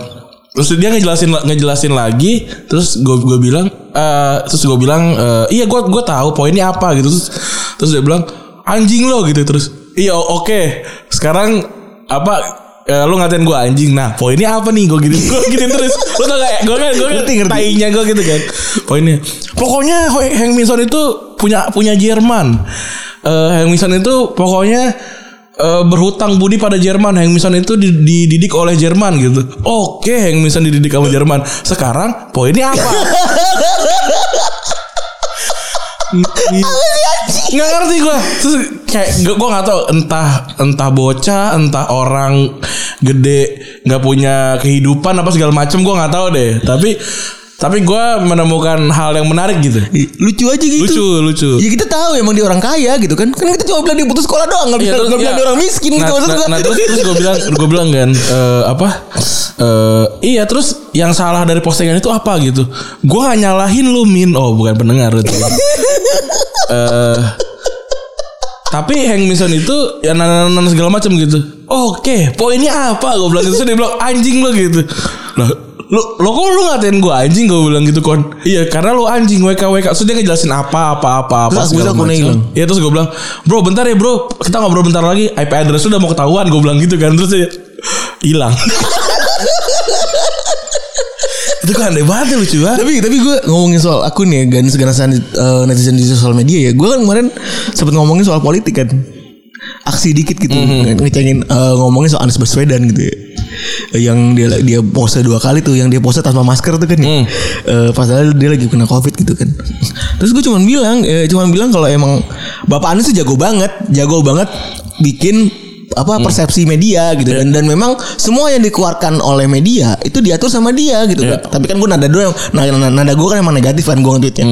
Speaker 2: terus dia ngejelasin ngejelasin lagi terus gue gue bilang eh terus gue bilang eh, iya gue gue tahu poinnya apa gitu terus terus dia bilang anjing lo gitu terus iya o- oke sekarang apa eh, lo ngatain gue anjing nah poinnya apa nih gue gini gue gini terus lo tau gak gue kan gue ngerti ngerti tainya gue gitu kan poinnya pokoknya Hank Minson itu punya punya Jerman Eh Hank Minson itu pokoknya eh, berhutang budi pada Jerman. Hank Minson itu di- dididik oleh Jerman gitu. Oke, Hank Minson dididik sama Jerman. Sekarang poinnya apa? nggak ngerti gue terus kayak gue gue nggak tahu entah entah bocah entah orang gede nggak punya kehidupan apa segala macem gue nggak tahu deh tapi tapi gue menemukan hal yang menarik gitu
Speaker 3: lucu aja gitu
Speaker 2: lucu lucu
Speaker 3: Ya kita tahu emang dia orang kaya gitu kan. Kan kita cuma bilang dia putus sekolah doang, enggak
Speaker 2: Iya,
Speaker 3: bilang
Speaker 2: terus-
Speaker 3: nggak bilang
Speaker 2: iya.
Speaker 3: dia orang miskin
Speaker 2: nah,
Speaker 3: gitu maksud
Speaker 2: nah,
Speaker 3: gua.
Speaker 2: nah, terus, terus gue bilang gue bilang kan eh, apa Eh, iya terus yang salah dari postingan itu apa gitu gue gak nyalahin lu min oh bukan pendengar itu Eh, tapi Hank Mason itu ya nanan segala macam gitu oke poinnya apa gue bilang gitu Terus dia bilang anjing lo gitu lah lo lo kok lu ngatain gue anjing gue bilang gitu kon iya karena lu anjing wkwk Terus dia ngejelasin apa apa apa apa
Speaker 3: Terus
Speaker 2: segala
Speaker 3: akunnya
Speaker 2: macam.
Speaker 3: hilang.
Speaker 2: Ya terus gue bilang Bro bentar ya bro Kita ngobrol bentar lagi IP address udah mau ketahuan Gue bilang gitu kan Terus dia hilang Itu kan aneh banget ya, lucu banget
Speaker 3: tapi tapi gue ngomongin soal akun ya ganas ganasan eh, netizen di sosial media ya gue kan kemarin sempat ngomongin soal politik kan aksi dikit gitu
Speaker 2: Mhm.
Speaker 3: ngecengin eh, ngomongin soal Anies Baswedan gitu ya Eh, yang dia dia pose dua kali tuh yang dia pose tanpa masker tuh kan
Speaker 2: Hmm.
Speaker 3: ya. Eh, padahal dia lagi kena covid gitu kan terus gue cuman bilang eh, cuman bilang kalau emang bapak Anies tuh jago banget jago banget bikin apa persepsi media gitu kan dan memang semua yang dikeluarkan oleh media itu diatur sama dia gitu kan tapi kan gue nada doang nada, nada gue kan emang negatif kan gue nge-tweetnya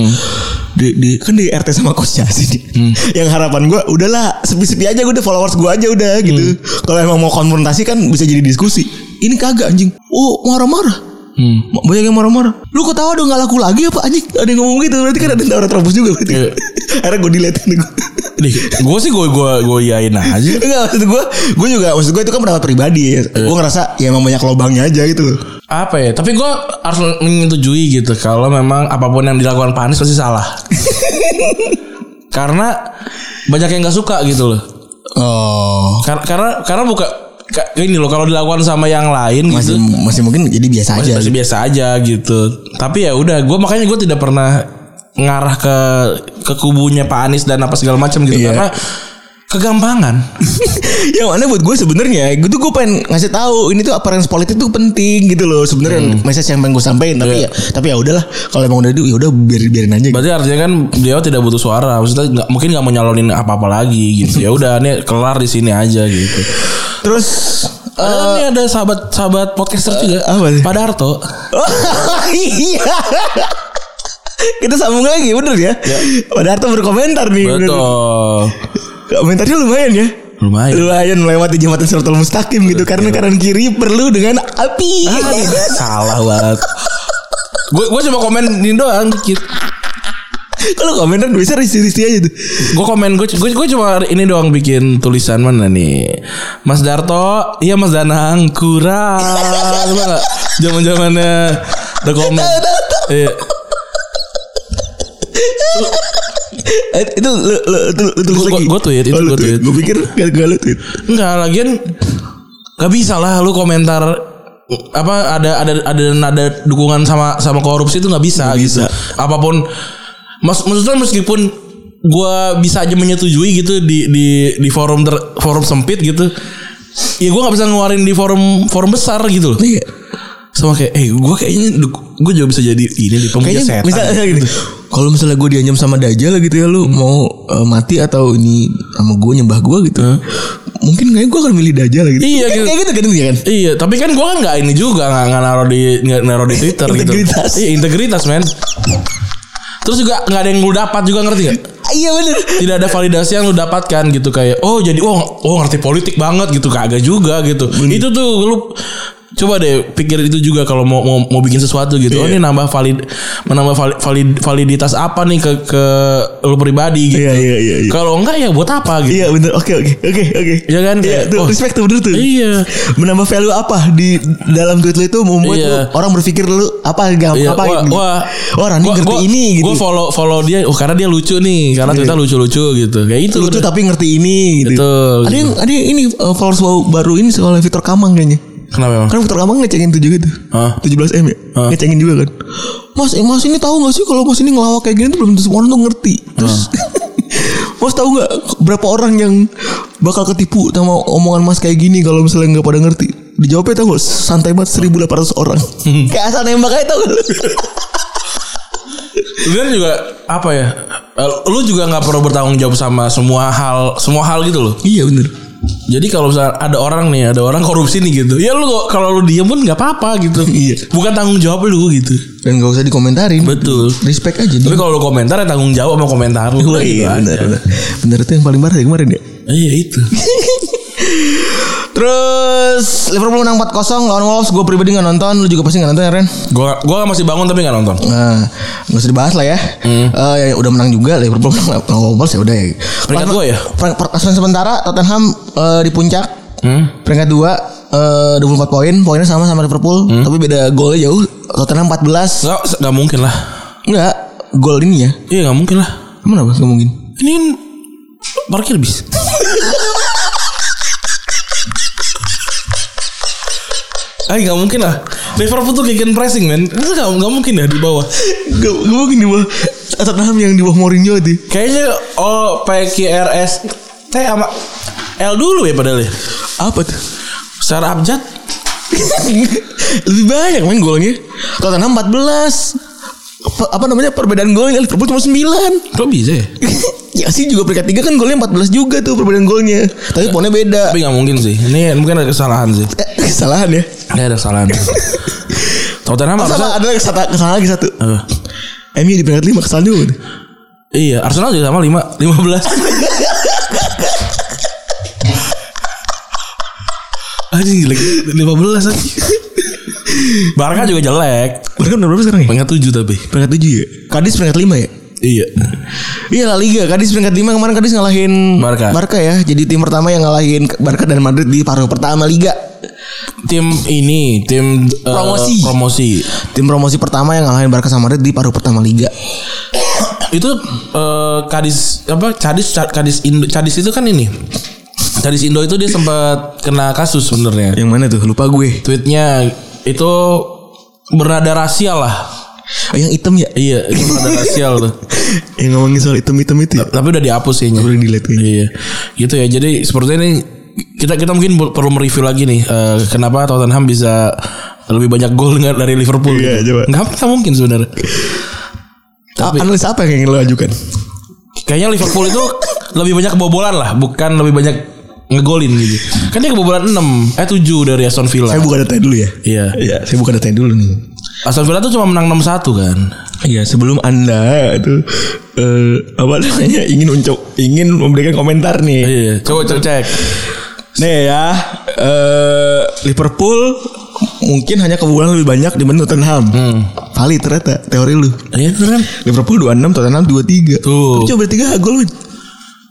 Speaker 3: di, di, kan di RT sama coachnya sih dia. yang harapan gue udahlah sepi-sepi aja gue udah followers gue aja udah gitu kalau emang mau konfrontasi kan bisa jadi diskusi ini kagak anjing oh marah-marah Ma- Banyak yang marah-marah Lu kok tau dong gak laku lagi apa anjing Ada yang ngomong gitu Berarti kan ada yang tawaran terobos juga berarti
Speaker 2: Iya.
Speaker 3: Akhirnya gue delete gue
Speaker 2: Gue sih gue gue gue iain aja
Speaker 3: Enggak maksud gue Gue juga Maksud gue itu kan pendapat pribadi ya
Speaker 2: Iya.
Speaker 3: Gue ngerasa Ya emang banyak lobangnya aja gitu loh
Speaker 2: Apa ya Tapi gue harus menyetujui gitu Kalau memang apapun yang dilakukan Pak Anies pasti salah Karena banyak yang gak suka gitu loh
Speaker 3: Oh
Speaker 2: Kar- Karena karena bukan ka- ini loh kalau dilakukan sama yang lain gitu
Speaker 3: Masih masih mungkin jadi biasa aja
Speaker 2: masih biasa aja gitu tapi ya udah gue makanya gue tidak pernah ngarah ke ke kubunya Pak Anies dan apa segala macam gitu
Speaker 3: Iya.
Speaker 2: karena kegampangan.
Speaker 3: yang mana Ya, buat gue sebenarnya gue tuh gue pengen ngasih tahu ini tuh appearance politik tuh penting gitu loh
Speaker 2: Hmm.
Speaker 3: sebenarnya message yang pengen gue sampaikan tapi
Speaker 2: Iya.
Speaker 3: ya tapi ya udahlah kalau emang udah itu ya udah biarin biarin aja gitu.
Speaker 2: Berarti artinya kan beliau tidak butuh suara. Maksudnya nggak mungkin nggak mau nyalonin apa-apa lagi gitu. Ya udah nih kelar di sini aja gitu.
Speaker 3: terus
Speaker 2: Padahal nih ada sahabat-sahabat podcaster juga.
Speaker 3: apa sih?
Speaker 2: Pada Harto.
Speaker 3: eh, iya kita sambung lagi bener ya, Padahal tuh berkomentar nih
Speaker 2: Iya.
Speaker 3: bener.
Speaker 2: Betul.
Speaker 3: komentarnya lumayan ya
Speaker 2: Lumayan.
Speaker 3: lumayan melewati jembatan Suratul Mustaqim gitu karena kanan kiri perlu dengan api
Speaker 2: Salah banget. Gue gue cuma komen ini doang dikit.
Speaker 3: kalau komentar bisa risi-risi aja tuh
Speaker 2: Gue komen gue gue gue cuma ini doang bikin tulisan mana nih. Mas Darto, iya Mas Danang kurang. Lu tau nggak? Zaman-zamannya the comment. Iya.
Speaker 3: Eh, itu lu, lu, lu, lu tulis
Speaker 2: Gua-
Speaker 3: lagi.
Speaker 2: gua- gua tweet, itu
Speaker 3: Oh, lu
Speaker 2: gua tweet.
Speaker 3: Gua pikir gak, gak lu tweet.
Speaker 2: Enggak, lagian gak bisa lah lu komentar apa ada ada ada nada dukungan sama sama korupsi itu nggak bisa, gitu.
Speaker 3: bisa.
Speaker 2: Apapun mas maksudnya meskipun gua bisa aja menyetujui gitu di di di forum ter, forum sempit gitu. Ya gua nggak bisa ngeluarin di forum forum besar gitu loh.
Speaker 3: Iya.
Speaker 2: Sama kayak eh gua kayaknya duk- gua juga bisa jadi ini di pemuja
Speaker 3: Kayaknya
Speaker 2: setan.
Speaker 3: misalnya gini. Kalau misalnya gue dianyam sama Dajjal gitu ya lu mau eh, mati atau ini sama gue nyembah gue gitu. Mungkin kayaknya gue akan milih Dajjal gitu.
Speaker 2: Iya,
Speaker 3: Kayak-
Speaker 2: gitu.
Speaker 3: Kayak gitu kan dia kan.
Speaker 2: Iya, tapi kan gua kan nggak ini juga nggak nggak naruh di nggak naruh di Twitter gitu.
Speaker 3: Integritas.
Speaker 2: Iya integritas men. Terus juga nggak ada yang lu dapat juga ngerti gak?
Speaker 3: Ah, Iya bener.
Speaker 2: Tidak ada validasi yang lu dapatkan gitu kayak oh jadi oh, oh ngerti politik banget gitu kagak juga gitu. Itu tuh lu coba deh pikir itu juga kalau mau mau, mau bikin sesuatu gitu.
Speaker 3: Iya.
Speaker 2: Oh ini nambah valid menambah vali- valid- validitas apa nih ke ke lu pribadi gitu.
Speaker 3: Iya iya iya. iya.
Speaker 2: Kalau enggak ya buat apa gitu.
Speaker 3: Iya bener oke oke oke oke.
Speaker 2: Iya kan,
Speaker 3: Iya
Speaker 2: kayak,
Speaker 3: tuh
Speaker 2: oh.
Speaker 3: respect tuh bener tuh.
Speaker 2: Iya.
Speaker 3: Menambah value apa di dalam tweet lu itu membuat
Speaker 2: Iya.
Speaker 3: lu- orang berpikir lu apa gak
Speaker 2: Iya,
Speaker 3: apa
Speaker 2: wah,
Speaker 3: gitu.
Speaker 2: wah,
Speaker 3: Oh, Rani ngerti ini gitu. Iya.
Speaker 2: Gue follow follow dia, oh karena dia lucu nih, karena ternyata lucu-lucu gitu. Kayak itu.
Speaker 3: lucu
Speaker 2: udah.
Speaker 3: tapi ngerti ini gitu.
Speaker 2: Betul,
Speaker 3: Ada
Speaker 2: gitu.
Speaker 3: yang ada yang ini uh, followers baru, baru ini soal Victor Kamang kayaknya.
Speaker 2: Kenapa emang?
Speaker 3: Kan Victor Kamang ngecengin tuh juga tuh.
Speaker 2: Hah?
Speaker 3: 17M ya.
Speaker 2: Hah?
Speaker 3: Ngecengin juga kan. Mas, eh, Mas ini tahu gak sih kalau Mas ini ngelawak kayak gini tuh belum tentu semua orang tuh ngerti. Terus Mas tahu nggak berapa orang yang bakal ketipu sama omongan Mas kayak gini kalau misalnya nggak pada ngerti? Dijawabnya tahu nggak? santai banget 1800 orang.
Speaker 2: Hmm.
Speaker 3: kayak asal nembak aja tahu nggak lu?
Speaker 2: Lu kan juga apa ya? eh, Lu juga nggak perlu bertanggung jawab sama semua hal, semua hal gitu loh.
Speaker 3: iya bener.
Speaker 2: Jadi kalau misalnya ada orang nih, ada orang korupsi nih gitu, ya lu kok- kalau lu diem pun nggak apa-apa gitu.
Speaker 3: Iya.
Speaker 2: Bukan tanggung jawab lu gitu.
Speaker 3: Dan gak usah dikomentarin.
Speaker 2: Betul.
Speaker 3: Respect aja.
Speaker 2: Tapi
Speaker 3: dia.
Speaker 2: kalau lu komentar ya tanggung jawab sama komentar lu.
Speaker 3: Wah,
Speaker 2: gitu
Speaker 3: iya
Speaker 2: aja.
Speaker 3: benar benar. Benar itu yang paling parah ya kemarin ya.
Speaker 2: Iya itu.
Speaker 3: Terus Liverpool menang 4-0 lawan Wolves. Gue pribadi nggak nonton, lu juga pasti nggak nonton ya Ren.
Speaker 2: Gua gua masih bangun tapi nggak nonton.
Speaker 3: Nah, nggak usah dibahas lah ya. Eh ya udah menang juga Liverpool menang lawan Wolves ya udah ya.
Speaker 2: Peringkat dua ya?
Speaker 3: Per- Perkasaran sementara Tottenham eh, di puncak. Peringkat eh, 2 24 poin, poinnya sama sama Liverpool, tapi beda golnya jauh. Tottenham 14.
Speaker 2: Nggak nggak mungkin lah.
Speaker 3: Enggak, gol ini ya.
Speaker 2: Iya nggak mungkin lah.
Speaker 3: Mana Bang? Nggak mungkin.
Speaker 2: Ini kan parkir bis. Ah nggak mungkin lah. Liverpool tuh gegen pressing men. Itu nggak nggak mungkin dah di bawah.
Speaker 3: Nggak nggak mungkin di bawah Tottenham yang di bawah Mourinho tuh.
Speaker 2: Kayaknya oh PQRS T sama L dulu ya padahal ya.
Speaker 3: Apa tuh?
Speaker 2: Secara abjad
Speaker 3: Lebih banyak main golnya. Tottenham 14. Apa, apa namanya perbedaan golnya Liverpool cuma 9.
Speaker 2: kok bisa ya?
Speaker 3: ya sih juga peringkat 3 kan golnya 14 juga tuh perbedaan golnya. Tapi poinnya beda.
Speaker 2: Tapi nggak mungkin sih. Ini mungkin ada kesalahan sih.
Speaker 3: Eh, kesalahan ya.
Speaker 2: Ini ada kesalahan. Tottenham
Speaker 3: Sama
Speaker 2: Arsenal.
Speaker 3: ada kesalahan, kesalahan lagi satu.
Speaker 2: Eh,
Speaker 3: MU di peringkat 5 kesalahan juga. tuh.
Speaker 2: iya, Arsenal juga sama 5 15. Anjing jelek 15 lagi. Barca juga jelek.
Speaker 3: Mereka nomor berapa sekarang ya?
Speaker 2: Pengen 7 tapi.
Speaker 3: Peringkat 7 ya. Kadis peringkat 5 ya?
Speaker 2: Iya.
Speaker 3: Iya La Liga Kadis peringkat 5 kemarin Kadis ngalahin
Speaker 2: Barca.
Speaker 3: ya Jadi tim pertama yang ngalahin Barca dan Madrid di paruh pertama Liga
Speaker 2: Tim ini, tim eh,
Speaker 3: Promosi.
Speaker 2: promosi.
Speaker 3: Tim promosi pertama yang ngalahin Barca sama Madrid di paruh pertama Liga
Speaker 2: Itu eh, Kadis apa? Cadis Kadis Indo, Cadis itu kan ini. Cadis Indo itu dia sempat kena kasus sebenarnya.
Speaker 3: Yang mana tuh? Lupa gue
Speaker 2: tweetnya itu bernada rasial lah
Speaker 3: Oh, yang hitam ya?
Speaker 2: Iya, itu ada rasial tuh.
Speaker 3: yang ngomongin soal hitam-hitam itu ya?
Speaker 2: Tapi udah dihapus kayaknya.
Speaker 3: Udah delete kayaknya.
Speaker 2: Iya. Gitu ya. Jadi sepertinya ini kita kita mungkin per- perlu mereview lagi nih eh, kenapa Tottenham bisa lebih banyak gol dengan- dari Liverpool.
Speaker 3: Iya,
Speaker 2: gitu.
Speaker 3: coba.
Speaker 2: Nggak nggak mungkin sebenarnya.
Speaker 3: Tapi, analis apa yang ingin lo ajukan?
Speaker 2: Kayaknya Liverpool itu lebih banyak kebobolan lah, bukan lebih banyak ngegolin gitu. Kan dia kebobolan 6 eh 7 dari Aston Villa.
Speaker 3: Saya buka datanya dulu ya.
Speaker 2: Iya.
Speaker 3: Iya, saya buka datanya dulu nih.
Speaker 2: Aston Villa tuh cuma menang 6-1 kan.
Speaker 3: Iya, sebelum Anda itu eh, apa namanya ingin uncok, ingin memberikan komentar nih.
Speaker 2: Iya, coba coba cek.
Speaker 3: Nih ya, eh, Liverpool mungkin hanya kebobolan lebih banyak dibanding Tottenham. Valid ternyata teori lu.
Speaker 2: Iya, itu kan.
Speaker 3: Liverpool 26, Tottenham 23.
Speaker 2: Tuh.
Speaker 3: Tapi Coba 3 gol. Win.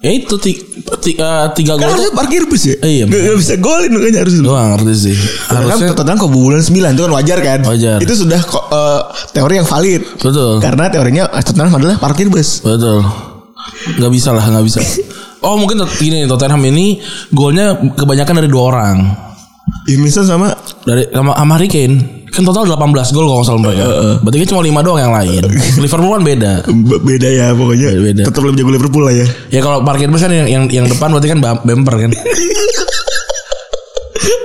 Speaker 2: Ya itu ti- ti- eh, tiga
Speaker 3: Kan
Speaker 2: gol tuh
Speaker 3: harusnya parkir bus ya.
Speaker 2: Iya,
Speaker 3: Nggak- nggak bisa golin makanya harus.
Speaker 2: Gue gak ngerti sih
Speaker 3: Harusnya
Speaker 2: Harusnya
Speaker 3: Tottenham kebobolan 9 itu kan wajar kan?
Speaker 2: Wajar.
Speaker 3: Itu sudah ko- eh, teori yang valid.
Speaker 2: Betul
Speaker 3: Karena teorinya Tottenham adalah parkir bus.
Speaker 2: Betul Gak bisa lah Gak bisa Oh mungkin tot- gini Tottenham ini Golnya kebanyakan dari dua orang
Speaker 3: Irmiston Iya, sama
Speaker 2: dari sama, sama Harry Kane Kan total 18 gol kalau nggak salah mereka Berarti kan cuma 5 doang yang lain Liverpool kan beda
Speaker 3: B- beda ya pokoknya.
Speaker 2: Beda.
Speaker 3: Tetap lebih jago Liverpool lah ya.
Speaker 2: Ya kalau parkir bus kan yang, yang, yang depan berarti kan bam- bumper kan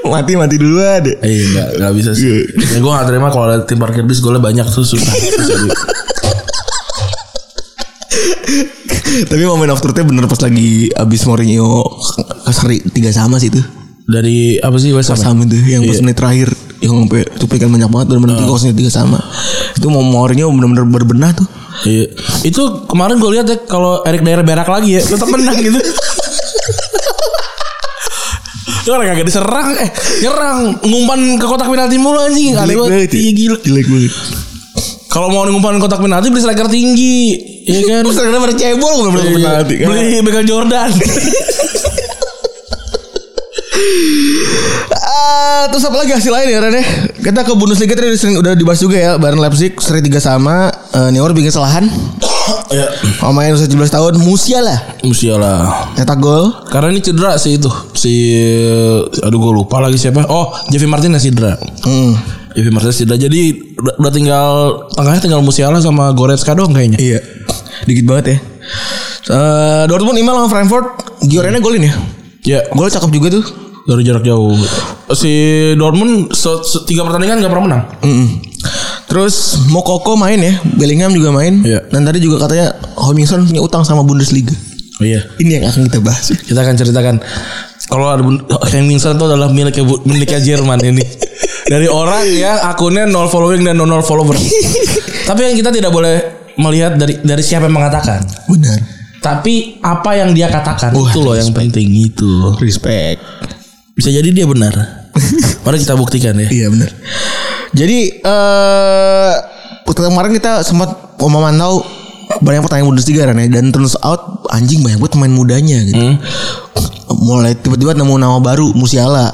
Speaker 3: Mati mati dulu ada.
Speaker 2: Iya gak, nggak bisa sih ya, Gue gak terima kalau ada tim parkir bis golnya banyak tuh susah
Speaker 3: Tapi momen of truth-nya bener pas lagi abis Mourinho seri tiga sama sih itu.
Speaker 2: Dari apa sih West Ham ya?
Speaker 3: Sama itu yang pas menit terakhir yang sampai cuplikan banyak banget dan bener kosnya tiga sama. Itu mau Mourinho bener-bener berbenah tuh.
Speaker 2: Iya. Itu kemarin gue lihat ya kalau Erik Daerah berak lagi ya tetap
Speaker 3: Nah,
Speaker 2: menang gitu. Lu orang kagak diserang eh nyerang ngumpan ke kotak penalti mulu anjing kali banget. Iya gila.
Speaker 3: Jelek banget.
Speaker 2: Kalau mau ngumpan kotak penalti beli striker tinggi, ya kan?
Speaker 3: Terus ternyata pada cebol bukan bener penalti. kan?
Speaker 2: Beli Michael Jordan.
Speaker 3: Ah, terus apa lagi hasil lain ya Ren ya? Kita ke Bundesliga tadi udah sering udah dibahas juga ya. Bayern Leipzig seri tiga sama. Eh, Neuer bikin kesalahan.
Speaker 2: ya,
Speaker 3: Iya. Pemain usia 17 tahun Musiala
Speaker 2: musiala.
Speaker 3: cetak gol.
Speaker 2: Karena ini cedera sih itu. Si aduh gue lupa lagi siapa. Oh, Javi Martinez cedera.
Speaker 3: Hmm.
Speaker 2: Javi Martinez cedera. Jadi udah udah tinggal tengahnya tinggal Musiala sama Goretzka doang kayaknya.
Speaker 3: Iya. Dikit banget ya. Eh, Dortmund imbang lawan Frankfurt. Giorena golin ya.
Speaker 2: Ya,
Speaker 3: Gol cakep juga tuh.
Speaker 2: dari jarak jauh. Si Dortmund se- se- tiga pertandingan gak pernah menang.
Speaker 3: Mm-mm. Hmm. Terus Mokoko main ya, Bellingham juga main.
Speaker 2: Iya.
Speaker 3: Dan tadi juga katanya Homingson punya utang sama Bundesliga.
Speaker 2: iya.
Speaker 3: Ini yang akan kita bahas.
Speaker 2: Kita akan ceritakan kalau ada bun- Hemmingson itu adalah miliknya bu- miliknya Jerman ini. Dari orang yang akunnya nol following dan nol follower. Tapi yang kita tidak boleh melihat dari dari siapa yang mengatakan.
Speaker 3: Benar.
Speaker 2: Tapi apa yang dia katakan
Speaker 3: Wah,
Speaker 2: itu loh yang penting itu.
Speaker 3: Respect.
Speaker 2: Bisa jadi dia benar. Mari kita buktikan ya.
Speaker 3: Iya benar. Jadi eh kemarin kita sempat memantau banyak pertandingan Bundesliga Ran, ya dan turns out anjing banyak banget pemain mudanya gitu. Mulai tiba-tiba nemu nama baru Musiala.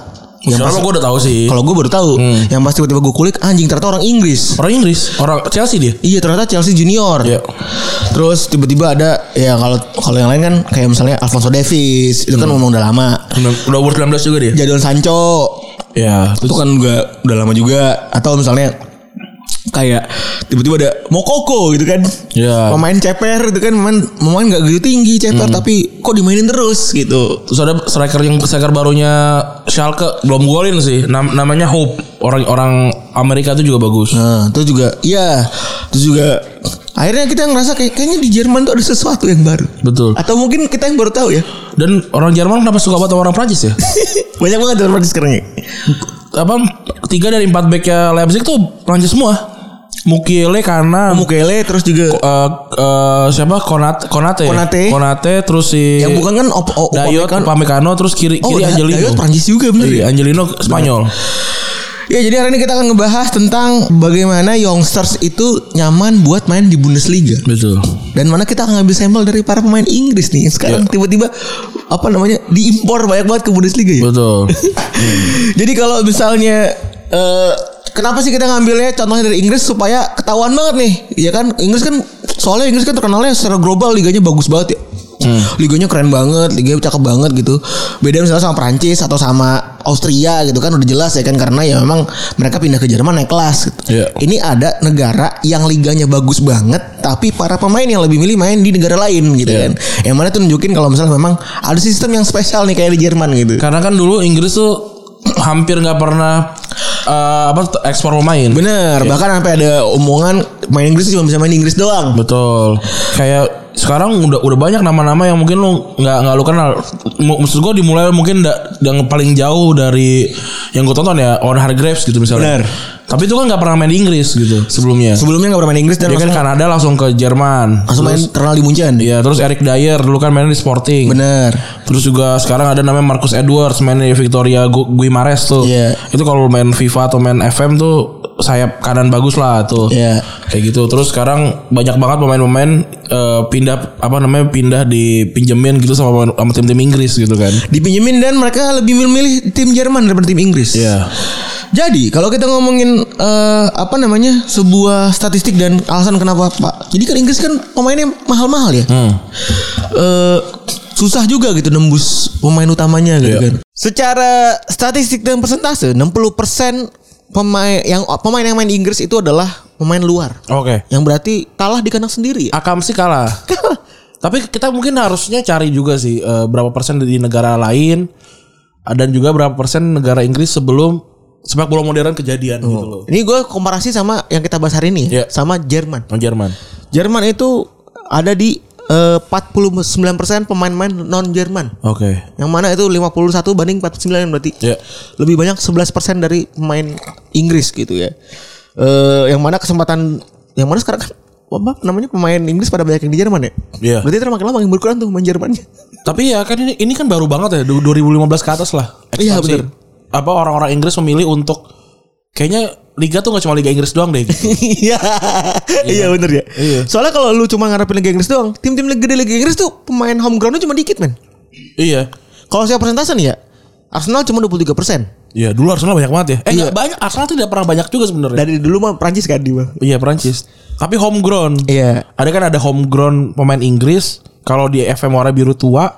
Speaker 3: Hmm. Yang
Speaker 2: Kalau
Speaker 3: pas-
Speaker 2: gue udah tahu sih.
Speaker 3: kalau gue baru tahu, yang pas tiba-tiba gue kulik anjing ternyata orang Inggris.
Speaker 2: Orang Inggris, orang Chelsea dia.
Speaker 3: Iya ternyata Chelsea junior.
Speaker 2: Iya.
Speaker 3: Terus tiba-tiba ada ya kalau kalau yang lain kan kayak misalnya Alfonso Davies itu kan ngomong udah lama.
Speaker 2: Ya, Udah umur 19 juga dia.
Speaker 3: Jadon Sancho
Speaker 2: Ya,
Speaker 3: itu kan juga udah lama juga atau misalnya kayak tiba-tiba ada Mokoko gitu kan
Speaker 2: Ya.
Speaker 3: pemain ceper itu kan pemain pemain nggak gitu tinggi ceper
Speaker 2: Hmm.
Speaker 3: tapi kok dimainin terus gitu
Speaker 2: Terus ada striker yang striker barunya Schalke belum golin sih. Nam- namanya Hope. Orang-orang Amerika itu juga bagus.
Speaker 3: nah terus juga iya terus juga akhirnya kita ngerasa kayak kayaknya di Jerman tuh ada sesuatu yang baru
Speaker 2: Betul.
Speaker 3: atau mungkin kita yang baru tahu ya
Speaker 2: Dan orang Jerman kenapa suka banget sama orang Prancis ya?
Speaker 3: banyak banget dalam arti sekarang ya
Speaker 2: Apa tiga dari empat backnya Leipzig tuh Prancis semua. Mukiele kanan.
Speaker 3: Mukele terus juga
Speaker 2: eh, eh, siapa Konate Konate
Speaker 3: Konate.
Speaker 2: terus si
Speaker 3: yang bukan kan op, op,
Speaker 2: Dayot
Speaker 3: Upamecano.
Speaker 2: Pamekano terus kiri
Speaker 3: oh
Speaker 2: kiri
Speaker 3: Day-
Speaker 2: Angelino
Speaker 3: Dayot Prancis juga bener
Speaker 2: Iya,
Speaker 3: ya
Speaker 2: Angelino Spanyol
Speaker 3: Ya jadi hari ini kita akan ngebahas tentang bagaimana youngsters itu nyaman buat main di Bundesliga.
Speaker 2: betul
Speaker 3: Dan mana kita akan ngambil sampel dari para pemain Inggris nih yang sekarang tiba-tiba apa namanya diimpor banyak banget ke Bundesliga ya.
Speaker 2: betul
Speaker 3: Jadi kalau misalnya eh, kenapa sih kita ngambilnya contohnya dari Inggris supaya ketahuan banget nih, ya kan? Inggris kan soalnya Inggris kan terkenalnya secara global liganya bagus banget ya. liganya keren banget liganya cakep banget gitu beda misalnya sama Prancis atau sama Austria gitu kan udah jelas ya kan karena ya memang mereka pindah ke Jerman naik kelas gitu.
Speaker 2: Iya.
Speaker 3: ini ada negara yang liganya bagus banget tapi para pemain yang lebih milih main di negara lain gitu
Speaker 2: Iya.
Speaker 3: kan yang mana tuh nunjukin kalau misalnya memang ada sistem yang spesial nih kayak di Jerman gitu
Speaker 2: Karena kan dulu Inggris tuh hampir nggak pernah eh, apa t- ekspor pemain.
Speaker 3: Bener, bahkan sampai ada omongan main Inggris cuma bisa main Inggris doang.
Speaker 2: Betul. Kayak sekarang udah udah banyak nama-nama yang mungkin lu nggak nggak lu kenal. M- maksud gua dimulai mungkin da- yang paling jauh dari yang gue tonton ya On Hargreaves gitu misalnya.
Speaker 3: Benar.
Speaker 2: Tapi itu kan nggak pernah main di Inggris gitu sebelumnya.
Speaker 3: Sebelumnya nggak pernah main Inggris dan
Speaker 2: Dia kan
Speaker 3: langsung,
Speaker 2: Kanada langsung ke Jerman.
Speaker 3: langsung main terkenal di Munchen.
Speaker 2: Iya, terus Eric Dyer dulu kan mainnya di Sporting.
Speaker 3: Bener.
Speaker 2: Terus juga sekarang ada namanya Marcus Edwards mainnya di Victoria Gu- Guimares tuh.
Speaker 3: Iya.
Speaker 2: Itu kalau main FIFA atau main FM tuh sayap kanan bagus lah tuh.
Speaker 3: Iya.
Speaker 2: Kayak gitu. Terus sekarang banyak banget pemain-pemain eh, pindah apa namanya pindah dipinjemin gitu sama pemain- sama tim-tim Inggris gitu kan.
Speaker 3: Dipinjemin dan mereka lebih memilih tim Jerman daripada tim Inggris.
Speaker 2: Iya.
Speaker 3: Jadi kalau kita ngomongin eh, apa namanya sebuah statistik dan alasan kenapa Pak. Jadi kan Inggris kan pemainnya mahal-mahal ya.
Speaker 2: Hmm.
Speaker 3: eh susah juga gitu nembus pemain utamanya gitu
Speaker 2: Iya.
Speaker 3: kan. Secara statistik dan persentase 60% pemain yang pemain yang main Inggris itu adalah pemain luar.
Speaker 2: Oke.
Speaker 3: Yang berarti kalah di kandang sendiri. ya?
Speaker 2: Akam sih kalah. Tapi kita mungkin harusnya cari juga sih eh, berapa persen di negara lain eh, dan juga berapa persen negara Inggris sebelum sepak bola modern kejadian gitu loh.
Speaker 3: Ini gue komparasi sama yang kita bahas hari ini ya,
Speaker 2: Iya.
Speaker 3: sama Jerman.
Speaker 2: Oh, Jerman.
Speaker 3: Jerman itu ada di eh, 49% pemain-pemain non Jerman.
Speaker 2: Oke.
Speaker 3: Yang mana itu 51 banding 49 berarti.
Speaker 2: Ya.
Speaker 3: Iya. Lebih banyak 11% dari pemain Inggris gitu ya. Eh yang mana kesempatan yang mana sekarang kan apa namanya pemain Inggris pada banyak yang di Jerman ya?
Speaker 2: Iya.
Speaker 3: Berarti ntar makin lama makin berkurang tuh pemain Jermannya.
Speaker 2: Tapi ya kan ini ini kan baru banget ya du- 2015 ke atas lah.
Speaker 3: Iya,
Speaker 2: Ekspansi.
Speaker 3: bener.
Speaker 2: Apa orang-orang Inggris memilih untuk kayaknya liga tuh nggak cuma liga Inggris doang deh. gitu.
Speaker 3: Iya. Iya bener ya.
Speaker 2: Iya.
Speaker 3: Soalnya kalau lu cuma ngarepin Liga Inggris doang, tim-tim gede Liga Inggris tuh pemain home groundnya cuma dikit, men.
Speaker 2: iya.
Speaker 3: Kalau saya persentase nih ya, Arsenal cuma 23%.
Speaker 2: Iya, dulu Arsenal banyak banget ya. Eh,
Speaker 3: Iya.
Speaker 2: nggak banyak Arsenal tuh tidak pernah banyak juga sebenarnya.
Speaker 3: Dari dulu mah Prancis kan dia.
Speaker 2: Iya, Prancis. Tapi homegrown.
Speaker 3: Iya.
Speaker 2: Ada kan ada homegrown pemain Inggris. Kalau di FM warna biru tua,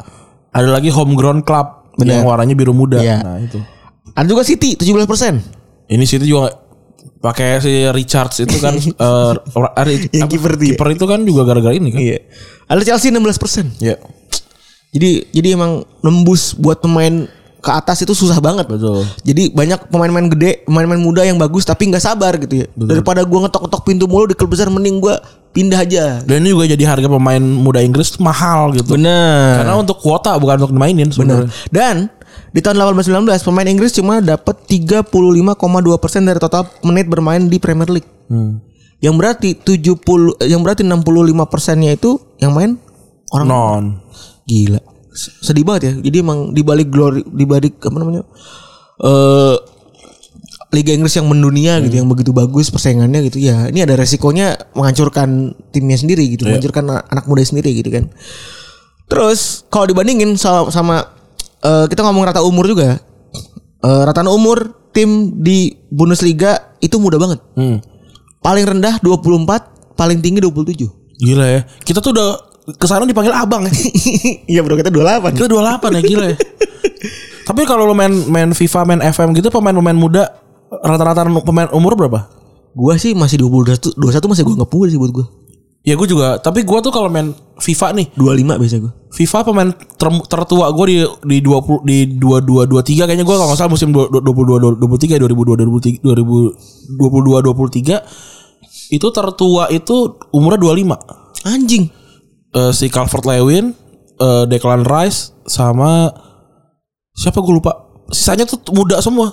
Speaker 2: ada lagi homegrown club yang
Speaker 3: Bener.
Speaker 2: warnanya biru muda.
Speaker 3: Iya.
Speaker 2: Nah itu.
Speaker 3: Ada juga City 17%.
Speaker 2: Ini situ juga pakai si Richards itu kan eh, ra- apa,
Speaker 3: Yang kiper dia.
Speaker 2: kiper itu kan juga gara-gara ini kan.
Speaker 3: Iya. Ada Chelsea 16%.
Speaker 2: Iya.
Speaker 3: Jadi jadi emang nembus buat pemain ke atas itu susah banget.
Speaker 2: Betul.
Speaker 3: Jadi banyak pemain-pemain gede, pemain-pemain muda yang bagus tapi nggak sabar gitu ya. Daripada gua ngetok-ngetok pintu mulu di klub besar mending gua pindah aja.
Speaker 2: Dan ini juga jadi harga pemain muda Inggris tuh mahal gitu.
Speaker 3: Bener.
Speaker 2: Karena untuk kuota bukan untuk dimainin sebenarnya.
Speaker 3: Bener. Dan di tahun 1819 pemain Inggris cuma dapat 35,2% dari total menit bermain di Premier League. Yang berarti 70 eh, yang berarti 65%-nya itu yang main orang
Speaker 2: Non.
Speaker 3: gila. S- Sedih banget ya. Jadi emang di balik glory di balik apa namanya? eh Liga Inggris yang mendunia gitu yang begitu bagus persaingannya gitu ya. Ini ada resikonya menghancurkan timnya sendiri gitu, menghancurkan a- anak muda sendiri gitu kan. Terus kalau dibandingin sama, sama eh, kita ngomong rata umur juga. Eh, rataan umur tim di Bundesliga itu muda banget.
Speaker 2: Hmm.
Speaker 3: Paling rendah 24, paling tinggi 27.
Speaker 2: Gila ya. Kita tuh udah kesana dipanggil abang ya.
Speaker 3: Iya bro kita 28.
Speaker 2: Kita 28 ya gila ya. Tapi kalau lo main main FIFA, main FM gitu pemain-pemain muda rata-rata pemain umur berapa?
Speaker 3: Gua sih masih 21, 21 masih gua anggap muda sih buat gua.
Speaker 2: Ya gue juga, tapi gue tuh kalau main FIFA nih,
Speaker 3: 25 biasa gua.
Speaker 2: FIFA pemain ter- tertua gue di di 20 di 22 23 kayaknya gue kalau nggak salah musim 22 23 2022 2023 itu tertua itu umurnya 25.
Speaker 3: Anjing.
Speaker 2: Eh, si Calvert Lewin, eh, Declan Rice sama siapa gue lupa. Sisanya tuh muda semua.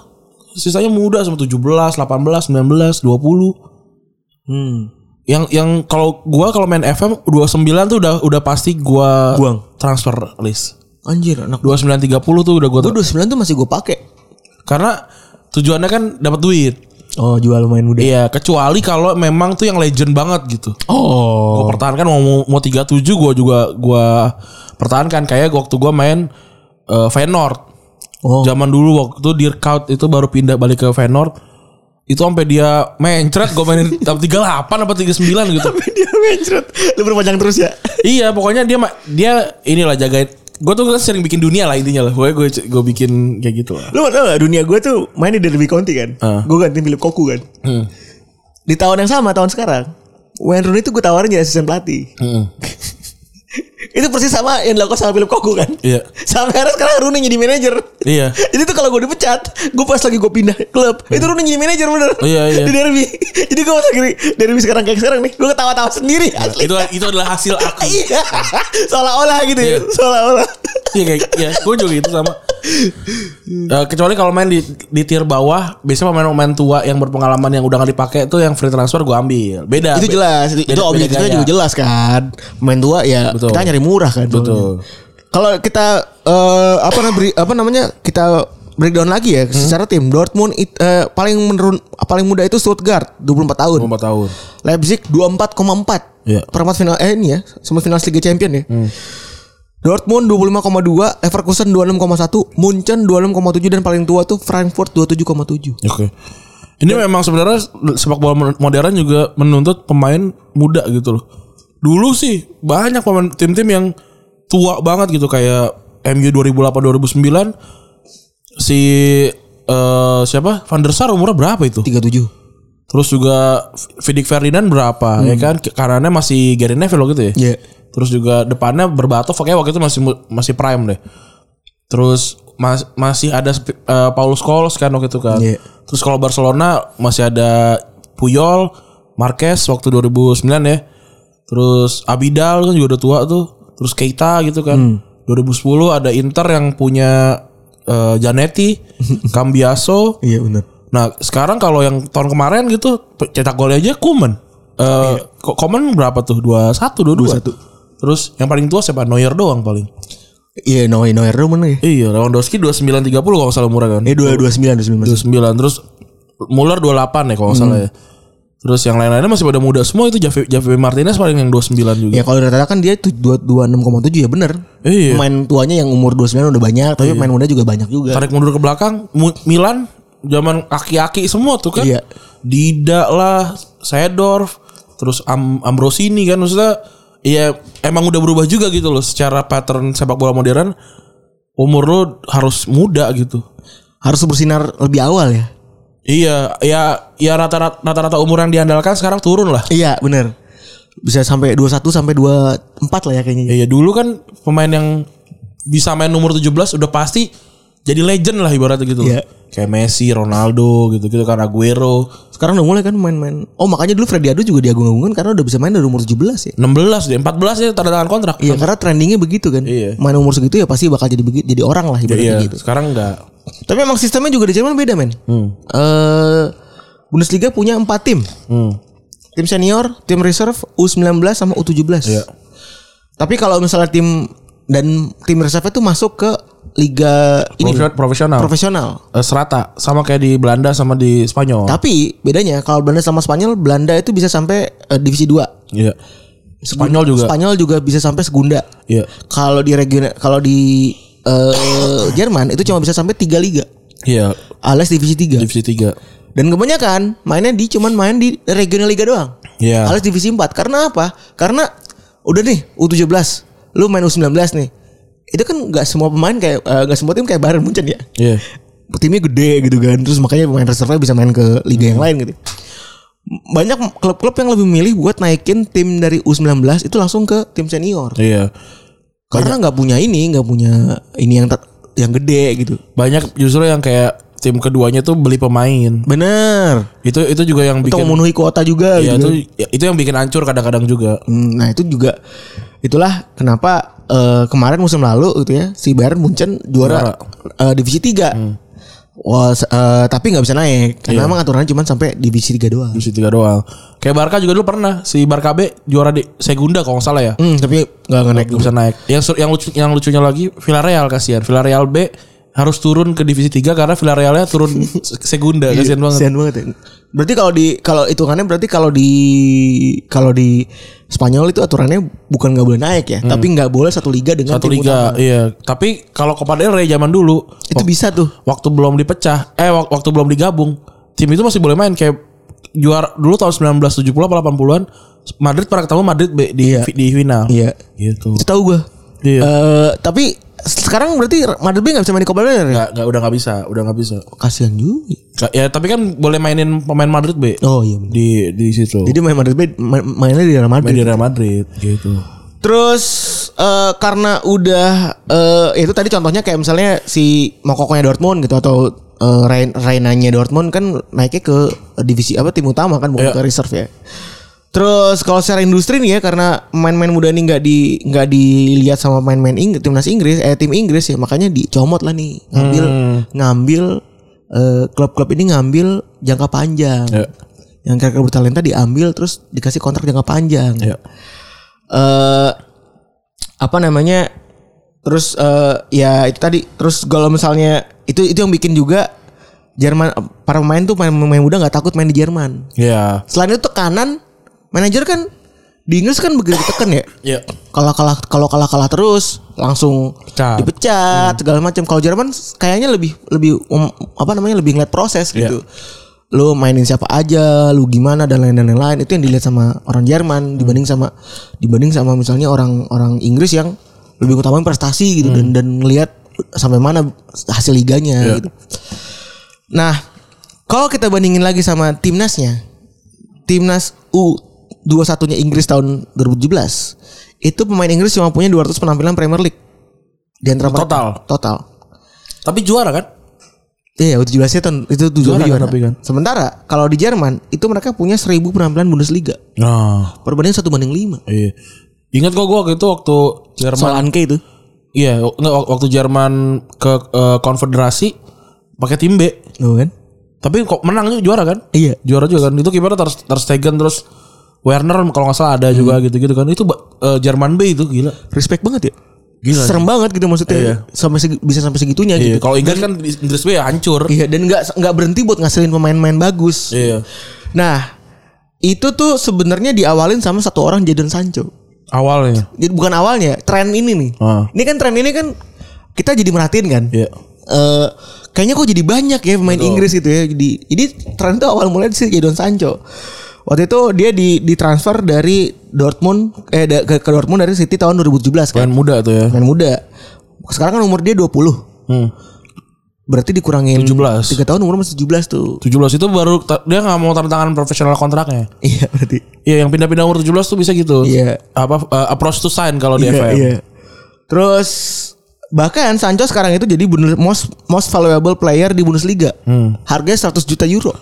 Speaker 2: Sisanya muda semua 17, 18, 19, 20.
Speaker 3: Hmm.
Speaker 2: Yang yang kalau gua kalau main FM 29 tuh udah udah pasti gua
Speaker 3: Buang.
Speaker 2: transfer list.
Speaker 3: Anjir anak gua.
Speaker 2: 29.30 tuh udah gua
Speaker 3: Gua 29 tuh masih gua pakai.
Speaker 2: karena tujuannya kan dapat duit.
Speaker 3: Oh, jual main muda.
Speaker 2: Iya, kecuali kalau memang tuh yang legend banget gitu.
Speaker 3: Oh.
Speaker 2: Gua pertahankan mau mau 37 gua juga gua pertahankan kayak waktu gua main eh, Feyenoord.
Speaker 3: Oh.
Speaker 2: Zaman dulu waktu Dirkout itu baru pindah balik ke Feyenoord itu sampai dia mencret gue mainin 38 apa 39 gitu
Speaker 3: Dia mencret. Lu berpanjang terus ya.
Speaker 2: Iya, pokoknya dia ma- dia inilah jagain. Gue tuh sering bikin dunia lah intinya lah. Gue gue gue bikin kayak gitu lah.
Speaker 3: Lu tau gak dunia gue tuh main di Derby County kan
Speaker 2: Ah.
Speaker 3: Gue ganti Philip Koku kan
Speaker 2: Hmm.
Speaker 3: Di tahun yang sama tahun sekarang Wayne Rooney tuh gue tawarin jadi asisten pelatih
Speaker 2: Hmm.
Speaker 3: Itu persis sama yang dilakukan sama Philip Koku kan
Speaker 2: Iya.
Speaker 3: Sampai akhirnya sekarang Rooney jadi manajer
Speaker 2: Iya.
Speaker 3: Jadi tuh kalau gue dipecat Gue pas lagi gue pindah klub Itu Rooney jadi manajer bener
Speaker 2: Hmm. Oh, iya, iya.
Speaker 3: Di Derby Jadi gue pas lagi Derby sekarang kayak sekarang nih Gue ketawa-tawa sendiri asli
Speaker 2: Itu itu adalah hasil aku.
Speaker 3: Iya Seolah-olah gitu
Speaker 2: Iya.
Speaker 3: ya Seolah-olah
Speaker 2: Iya kayak ya, gue juga gitu sama. Eh, kecuali kalau main di di tier bawah, biasanya pemain-pemain tua yang berpengalaman yang udah gak dipakai itu yang free transfer gue ambil. Beda.
Speaker 3: itu
Speaker 2: be-
Speaker 3: jelas itu,
Speaker 2: beda-
Speaker 3: itu
Speaker 2: beda
Speaker 3: objektifnya
Speaker 2: gaya.
Speaker 3: juga jelas kan main tua ya
Speaker 2: Betul.
Speaker 3: kita nyari murah kan soalnya.
Speaker 2: Betul.
Speaker 3: kalau kita eh, apa namanya beri- apa namanya kita breakdown lagi
Speaker 2: Hmm.
Speaker 3: ya secara tim Dortmund it- eh, paling menurun paling muda itu Stuttgart 24 tahun
Speaker 2: 24 tahun.
Speaker 3: Leipzig 24,4
Speaker 2: Iya.
Speaker 3: perempat final eh ini ya semifinal Liga Champion ya Dortmund 25,2, Leverkusen 26,1, Munchen 26,7 dan paling tua tuh Frankfurt 27,7.
Speaker 2: Oke. Ini memang sebenarnya sepak bola mo- modern juga menuntut pemain muda gitu loh. Dulu sih banyak pemain tim-tim yang tua banget gitu kayak MU 2008 2009 si eh, siapa Van der Sar umurnya berapa itu?
Speaker 3: 37.
Speaker 2: Terus juga Fidik Ferdinand berapa ya kan kanannya masih Gary Neville gitu ya.
Speaker 3: Hmm. Iya.
Speaker 2: Terus juga depannya berbatov kayak waktu itu masih mu- masih prime deh. Terus mas- masih ada sp- eh, Paul Scholes kan waktu itu kan.
Speaker 3: Iya.
Speaker 2: Terus kalau Barcelona masih ada Puyol, Marquez waktu 2009 ya. Terus Abidal kan juga udah tua tuh. Terus Keita gitu
Speaker 3: Hmm.
Speaker 2: kan. 2010 ada Inter yang punya eh, Janetti, Cambiaso,
Speaker 3: Iya benar.
Speaker 2: Nah sekarang kalau yang tahun kemarin gitu pe- cetak golnya aja Kuman. Eh Ko- Koeman berapa tuh? 21 22.
Speaker 3: 21.
Speaker 2: Terus yang paling tua siapa? Neuer doang paling.
Speaker 3: Iya Neuer Neuer mana ya?
Speaker 2: Iya, Lewandowski 29 30 kalau nggak salah murah kan.
Speaker 3: Eh 229 29.
Speaker 2: 29 terus Muller 28 ya kalau nggak salah ya. Terus yang lain-lainnya masih pada muda semua itu Javi, Javi Martinez paling yang 29 juga.
Speaker 3: Ya kalau rata-rata kan dia tuh 26,7 ya bener
Speaker 2: Iya.
Speaker 3: Pemain tuanya yang umur 29 udah banyak Tapi pemain muda juga banyak juga
Speaker 2: Tarik mundur ke belakang Mu- Milan zaman aki-aki semua tuh kan.
Speaker 3: Iya.
Speaker 2: Dida lah, Seedorf, terus Am Ambrosini kan maksudnya ya emang udah berubah juga gitu loh secara pattern sepak bola modern umur lo harus muda gitu.
Speaker 3: Harus bersinar lebih awal ya
Speaker 2: Iya, ya ya rata-rata rata-rata umur yang diandalkan sekarang turun lah.
Speaker 3: Iya bener Bisa sampai 21 sampai 24 lah ya kayaknya
Speaker 2: Iya, dulu kan pemain yang bisa main umur 17 udah pasti jadi legend lah ibaratnya gitu. loh.
Speaker 3: Iya.
Speaker 2: Kayak Messi, Ronaldo gitu-gitu kan Aguero.
Speaker 3: Sekarang udah mulai kan main-main Oh makanya dulu Freddy Adu juga diagung-agungkan Karena udah bisa main dari umur 17 ya
Speaker 2: 16 deh, 14 dia tanda tangan kontrak.
Speaker 3: Iya karena trendingnya begitu kan
Speaker 2: Iya.
Speaker 3: Main umur segitu ya pasti bakal jadi begi- jadi orang lah ibaratnya
Speaker 2: Iya,
Speaker 3: gitu
Speaker 2: sekarang enggak.
Speaker 3: Tapi emang sistemnya juga di Jerman beda men Eh, Bundesliga punya 4 tim
Speaker 2: Hmm.
Speaker 3: Tim senior, tim reserve, U19 sama U17.
Speaker 2: Iya.
Speaker 3: Tapi kalau misalnya tim dan tim reserve itu masuk ke liga ini
Speaker 2: Profesio- profesional.
Speaker 3: profesional.
Speaker 2: Eh, serata sama kayak di Belanda sama di Spanyol.
Speaker 3: Tapi bedanya kalau Belanda sama Spanyol, Belanda itu bisa sampai eh, divisi 2.
Speaker 2: Iya. Spanyol juga.
Speaker 3: Spanyol juga bisa sampai segunda.
Speaker 2: Iya.
Speaker 3: Kalau di region kalau di eh, Jerman itu cuma bisa sampai 3 liga.
Speaker 2: Iya,
Speaker 3: Alias divisi 3.
Speaker 2: divisi 3.
Speaker 3: Dan kebanyakan mainnya di cuman main di regional liga doang.
Speaker 2: Iya.
Speaker 3: Harus divisi 4. Karena apa? Karena udah nih U17, lu main U19 nih. Itu kan nggak semua pemain kayak eh, nggak semua tim kayak Bayern Munchen ya.
Speaker 2: Iya.
Speaker 3: Timnya gede gitu kan. Terus makanya pemain reserve bisa main ke liga yang lain gitu. Banyak klub-klub yang lebih milih buat naikin tim dari U19 itu langsung ke tim senior.
Speaker 2: Iya.
Speaker 3: Karena nggak punya ini, nggak punya ini yang ter- yang gede gitu.
Speaker 2: Banyak justru yang kayak tim keduanya tuh beli pemain.
Speaker 3: Bener.
Speaker 2: Itu itu juga yang
Speaker 3: Untuk
Speaker 2: bikin
Speaker 3: memenuhi kuota juga
Speaker 2: Iya,
Speaker 3: gitu.
Speaker 2: itu ya, itu yang bikin hancur kadang-kadang juga.
Speaker 3: Hmm, Nah itu juga itulah kenapa eh, kemarin musim lalu gitu ya si Bayern Munchen juara eh, divisi 3.
Speaker 2: Hmm.
Speaker 3: Wah, se- eh, tapi nggak bisa naik
Speaker 2: Iya.
Speaker 3: karena emang aturannya cuma sampai divisi 3 doang.
Speaker 2: Divisi 3 doang. Kayak Barca juga dulu pernah si Barca B juara di Segunda kalau nggak salah ya.
Speaker 3: Hmm, tapi nggak akan naik.
Speaker 2: Nggak bisa naik. Yang sur- yang lucu yang lucunya lagi Villarreal kasihan. Villarreal B harus turun ke divisi 3 karena Villarrealnya turun se- segunda kasihan banget.
Speaker 3: Kasihan banget. ya. Berarti kalau di kalau hitungannya berarti kalau di kalau di Spanyol itu aturannya bukan nggak boleh naik ya, tapi nggak boleh satu liga dengan
Speaker 2: Hmm. Satu
Speaker 3: tim utama.
Speaker 2: liga, iya. Tapi kalau Copa del Rey zaman dulu
Speaker 3: Itu
Speaker 2: wak-
Speaker 3: bisa tuh.
Speaker 2: waktu belum dipecah, eh wak- waktu belum digabung, tim itu masih boleh main kayak juara dulu tahun 1970 apa 80-an Madrid pernah ketemu Madrid be- di
Speaker 3: Iya.
Speaker 2: di final.
Speaker 3: Iya. Eh.
Speaker 2: Gitu.
Speaker 3: Itu tahu gue.
Speaker 2: Iya.
Speaker 3: tapi sekarang berarti Madrid B nggak bisa main di Copa del Rey ya?
Speaker 2: Nggak, nggak- udah nggak bisa, udah nggak bisa.
Speaker 3: Kasihan juga.
Speaker 2: Nggak- Ya tapi kan boleh mainin pemain Madrid be
Speaker 3: Oh iya. bener.
Speaker 2: di di situ.
Speaker 3: Jadi main Madrid B main- mainnya di Real
Speaker 2: main
Speaker 3: Madrid.
Speaker 2: di Real Madrid gitu.
Speaker 3: Terus eh, karena udah eh, ya itu tadi contohnya kayak misalnya si Mokoknya Dortmund gitu atau eh, Rein- Reinanya Dortmund kan naiknya ke divisi apa tim utama kan bukan
Speaker 2: Iya.
Speaker 3: ke reserve ya. Terus kalau secara industri nih ya karena main-main muda ini nggak di nggak dilihat sama main-main Ing- timnas Inggris eh tim Inggris ya makanya dicomot lah nih ngambil
Speaker 2: Hmm.
Speaker 3: ngambil eh, klub-klub ini ngambil jangka panjang
Speaker 2: Iya.
Speaker 3: yang kira-kira bertalenta diambil terus dikasih kontrak jangka panjang
Speaker 2: Iya.
Speaker 3: eh apa namanya terus eh ya itu tadi terus kalau misalnya itu itu yang bikin juga Jerman para pemain tuh pemain pemain muda nggak takut main di Jerman
Speaker 2: Iya.
Speaker 3: selain itu tekanan manajer kan di Inggris kan begitu ditekan ya
Speaker 2: Iya.
Speaker 3: kalau kalah kalau kalah kalah terus langsung
Speaker 2: Pecat.
Speaker 3: dipecat segala macam kalau Jerman kayaknya lebih lebih um, apa namanya lebih ngeliat proses gitu lo mainin siapa aja lu gimana dan lain dan lain, lain itu yang dilihat sama orang Jerman dibanding sama dibanding sama misalnya orang orang Inggris yang lebih utamain prestasi gitu dan dan ngelihat sampai mana hasil liganya gitu nah kalau kita bandingin lagi sama timnasnya timnas U 21 nya Inggris tahun 2017 itu pemain Inggris cuma punya 200 penampilan Premier League di antara mereka-
Speaker 2: Total.
Speaker 3: total
Speaker 2: Tapi juara kan?
Speaker 3: iya U 17 nya tahun itu tujuh
Speaker 2: Juara kan
Speaker 3: juara
Speaker 2: tapi kan?
Speaker 3: sementara kalau di Jerman itu mereka punya 1000 penampilan Bundesliga
Speaker 2: Nah,
Speaker 3: perbandingan satu banding lima
Speaker 2: iya. Ingat kok gue waktu itu waktu Jerman
Speaker 3: soal Anke itu
Speaker 2: Iya, w- nggak, wak- waktu Jerman ke eh, konfederasi pakai tim B.
Speaker 3: Tuh kan
Speaker 2: Tapi kok menang juga juara kan?
Speaker 3: Iya.
Speaker 2: Juara juga kan. Itu kipernya ter, ter Stegen terus Werner kalau nggak salah ada juga gitu-gitu kan. Itu ba- eh, Jerman B itu gila.
Speaker 3: respect banget ya
Speaker 2: Gila
Speaker 3: serem banget gitu maksudnya sampai segi- bisa sampai segitunya
Speaker 2: Iya,
Speaker 3: gitu
Speaker 2: kalau Inggris kan di- Inggris B ya hancur.
Speaker 3: Iya dan nggak nggak berhenti buat ngasilin pemain-pemain bagus.
Speaker 2: Iya.
Speaker 3: Nah itu tuh sebenarnya diawalin sama satu orang Jadon Sancho.
Speaker 2: Awalnya.
Speaker 3: jadi bukan awalnya tren ini nih
Speaker 2: Ah.
Speaker 3: ini kan tren ini kan kita jadi merhatiin kan
Speaker 2: Iya.
Speaker 3: Eh, kayaknya kok jadi banyak ya pemain Inggris gitu ya jadi jadi tren itu awal mulai sih Jadon Sancho waktu itu dia di ditransfer dari Dortmund eh da- ke, ke Dortmund dari City tahun 2017 kan
Speaker 2: Pemain muda tuh ya.
Speaker 3: pemain muda sekarang kan umur dia 20
Speaker 2: Hmm.
Speaker 3: berarti dikurangin
Speaker 2: 17.
Speaker 3: 3 tahun umur masih 17 tuh
Speaker 2: 17 itu baru ta- dia nggak mau tanda tangan profesional kontraknya.
Speaker 3: iya berarti
Speaker 2: Iya, yang pindah-pindah umur 17 tuh bisa gitu.
Speaker 3: Iya.
Speaker 2: Apa eh, approach to sign kalau di
Speaker 3: Iya,
Speaker 2: FM.
Speaker 3: iya. Terus bahkan Sancho sekarang itu jadi bener- most most valuable player di Bundesliga. Harganya 100 juta euro.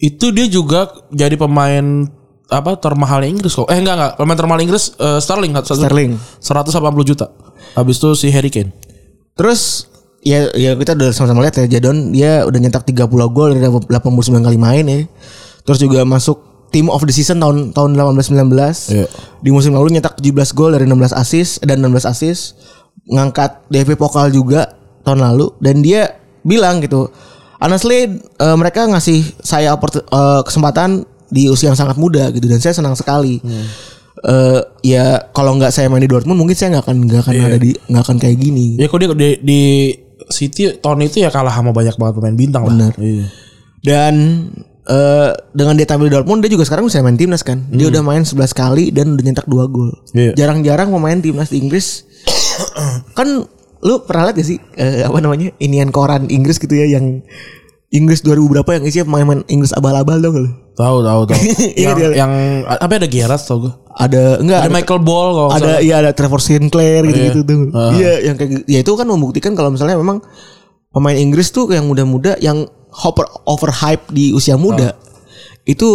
Speaker 2: itu dia juga jadi pemain apa termahalnya Inggris kok. Eh enggak enggak, pemain termahal Inggris eh, Sterling satu-
Speaker 3: Sterling.
Speaker 2: 180 juta. Habis itu si Harry Kane.
Speaker 3: Terus ya ya kita udah sama-sama lihat ya Jadon dia udah nyetak 30 gol dari 89 kali main ya. Terus juga masuk team of the season tahun tahun 18-19.
Speaker 2: Iya.
Speaker 3: Di musim lalu nyetak 17 gol dari 16 assist eh, dan 16 assist. Ngangkat DP Pokal juga tahun lalu dan dia bilang gitu. Honestly eh, mereka ngasih saya opport- eh, kesempatan di usia yang sangat muda gitu dan saya senang sekali. Eh, ya kalau nggak saya main di Dortmund mungkin saya nggak akan nggak akan ada di nggak akan kayak gini.
Speaker 2: Ya kok dia di, di City tahun itu ya kalah sama banyak banget pemain bintang lah.
Speaker 3: Benar.
Speaker 2: Iya.
Speaker 3: Dan eh, dengan dia tampil di Dortmund dia juga sekarang bisa main timnas kan. Dia udah main 11 kali dan udah nyetak 2 gol.
Speaker 2: Hmm. Iya.
Speaker 3: Jarang-jarang pemain timnas di Inggris kan lu pernah lihat gak sih eh, apa namanya? Inian koran Inggris gitu ya yang Inggris 2000 berapa yang isinya pemain-pemain Inggris abal-abal dong lu.
Speaker 2: Tahu tahu tahu. yang,
Speaker 3: Iya, dia.
Speaker 2: yang apa ya, ada Gerrard tau gue.
Speaker 3: Ada enggak
Speaker 2: Ada Michael Ball kalau nggak
Speaker 3: ada
Speaker 2: salah.
Speaker 3: iya ada Trevor Sinclair gitu-gitu tuh.
Speaker 2: Ah.
Speaker 3: Iya yang kayak gitu. ya itu kan membuktikan kalau misalnya memang pemain Inggris tuh yang muda-muda yang over overhype di usia muda itu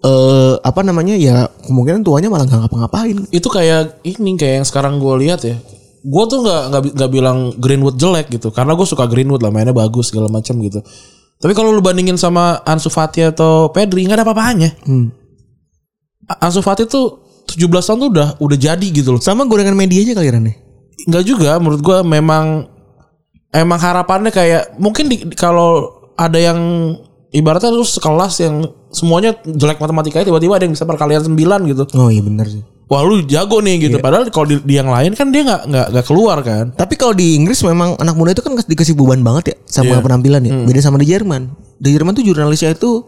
Speaker 3: eh apa namanya ya kemungkinan tuanya malah nggak ngapa-ngapain.
Speaker 2: itu kayak ini kayak yang sekarang gue lihat ya gue tuh nggak nggak bi- nggak bilang Greenwood jelek gitu karena gue suka Greenwood lah mainnya bagus segala macam gitu tapi kalau lu bandingin sama Ansu Fati atau Pedri nggak ada apa-apanya A- Ansu Fati tuh 17 tahun tuh udah udah jadi gitu loh
Speaker 3: Sama gorengan medianya kali Ran, ya?
Speaker 2: nggak juga menurut gue memang emang harapannya kayak mungkin di, di- kalau ada yang ibaratnya lu sekelas yang semuanya jelek matematikanya tiba-tiba ada yang bisa perkalian 9 gitu
Speaker 3: Oh iya benar sih.
Speaker 2: wah lu jago nih
Speaker 3: Iya.
Speaker 2: gitu. Padahal kalau di, di yang lain kan dia nggak nggak nggak keluar kan.
Speaker 3: Tapi kalau di Inggris memang anak muda itu kan dikasih beban banget ya sama penampilan ya. Beda sama di Jerman. Di Jerman tuh jurnalisnya itu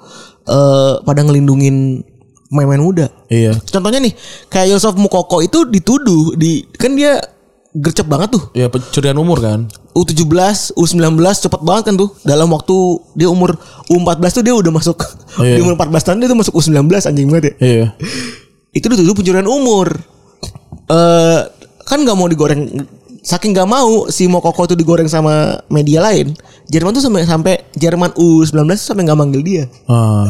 Speaker 3: eh pada ngelindungin main-main muda.
Speaker 2: Iya.
Speaker 3: Contohnya nih kayak Yosef Mukoko itu dituduh di kan dia gercep banget tuh.
Speaker 2: Ya pencurian umur kan.
Speaker 3: U17, U19 cepet banget kan tuh. Dalam waktu dia umur U14 tuh dia udah masuk.
Speaker 2: Oh, iya.
Speaker 3: Di umur 14 tahun dia tuh masuk U19 anjing banget ya.
Speaker 2: Iya.
Speaker 3: Itu dituduh pencurian umur. Eh kan nggak mau digoreng saking nggak mau si Mokoko tuh digoreng sama media lain. Jerman tuh sampai sampai Jerman U19 tuh sampai nggak manggil dia.
Speaker 2: Ah.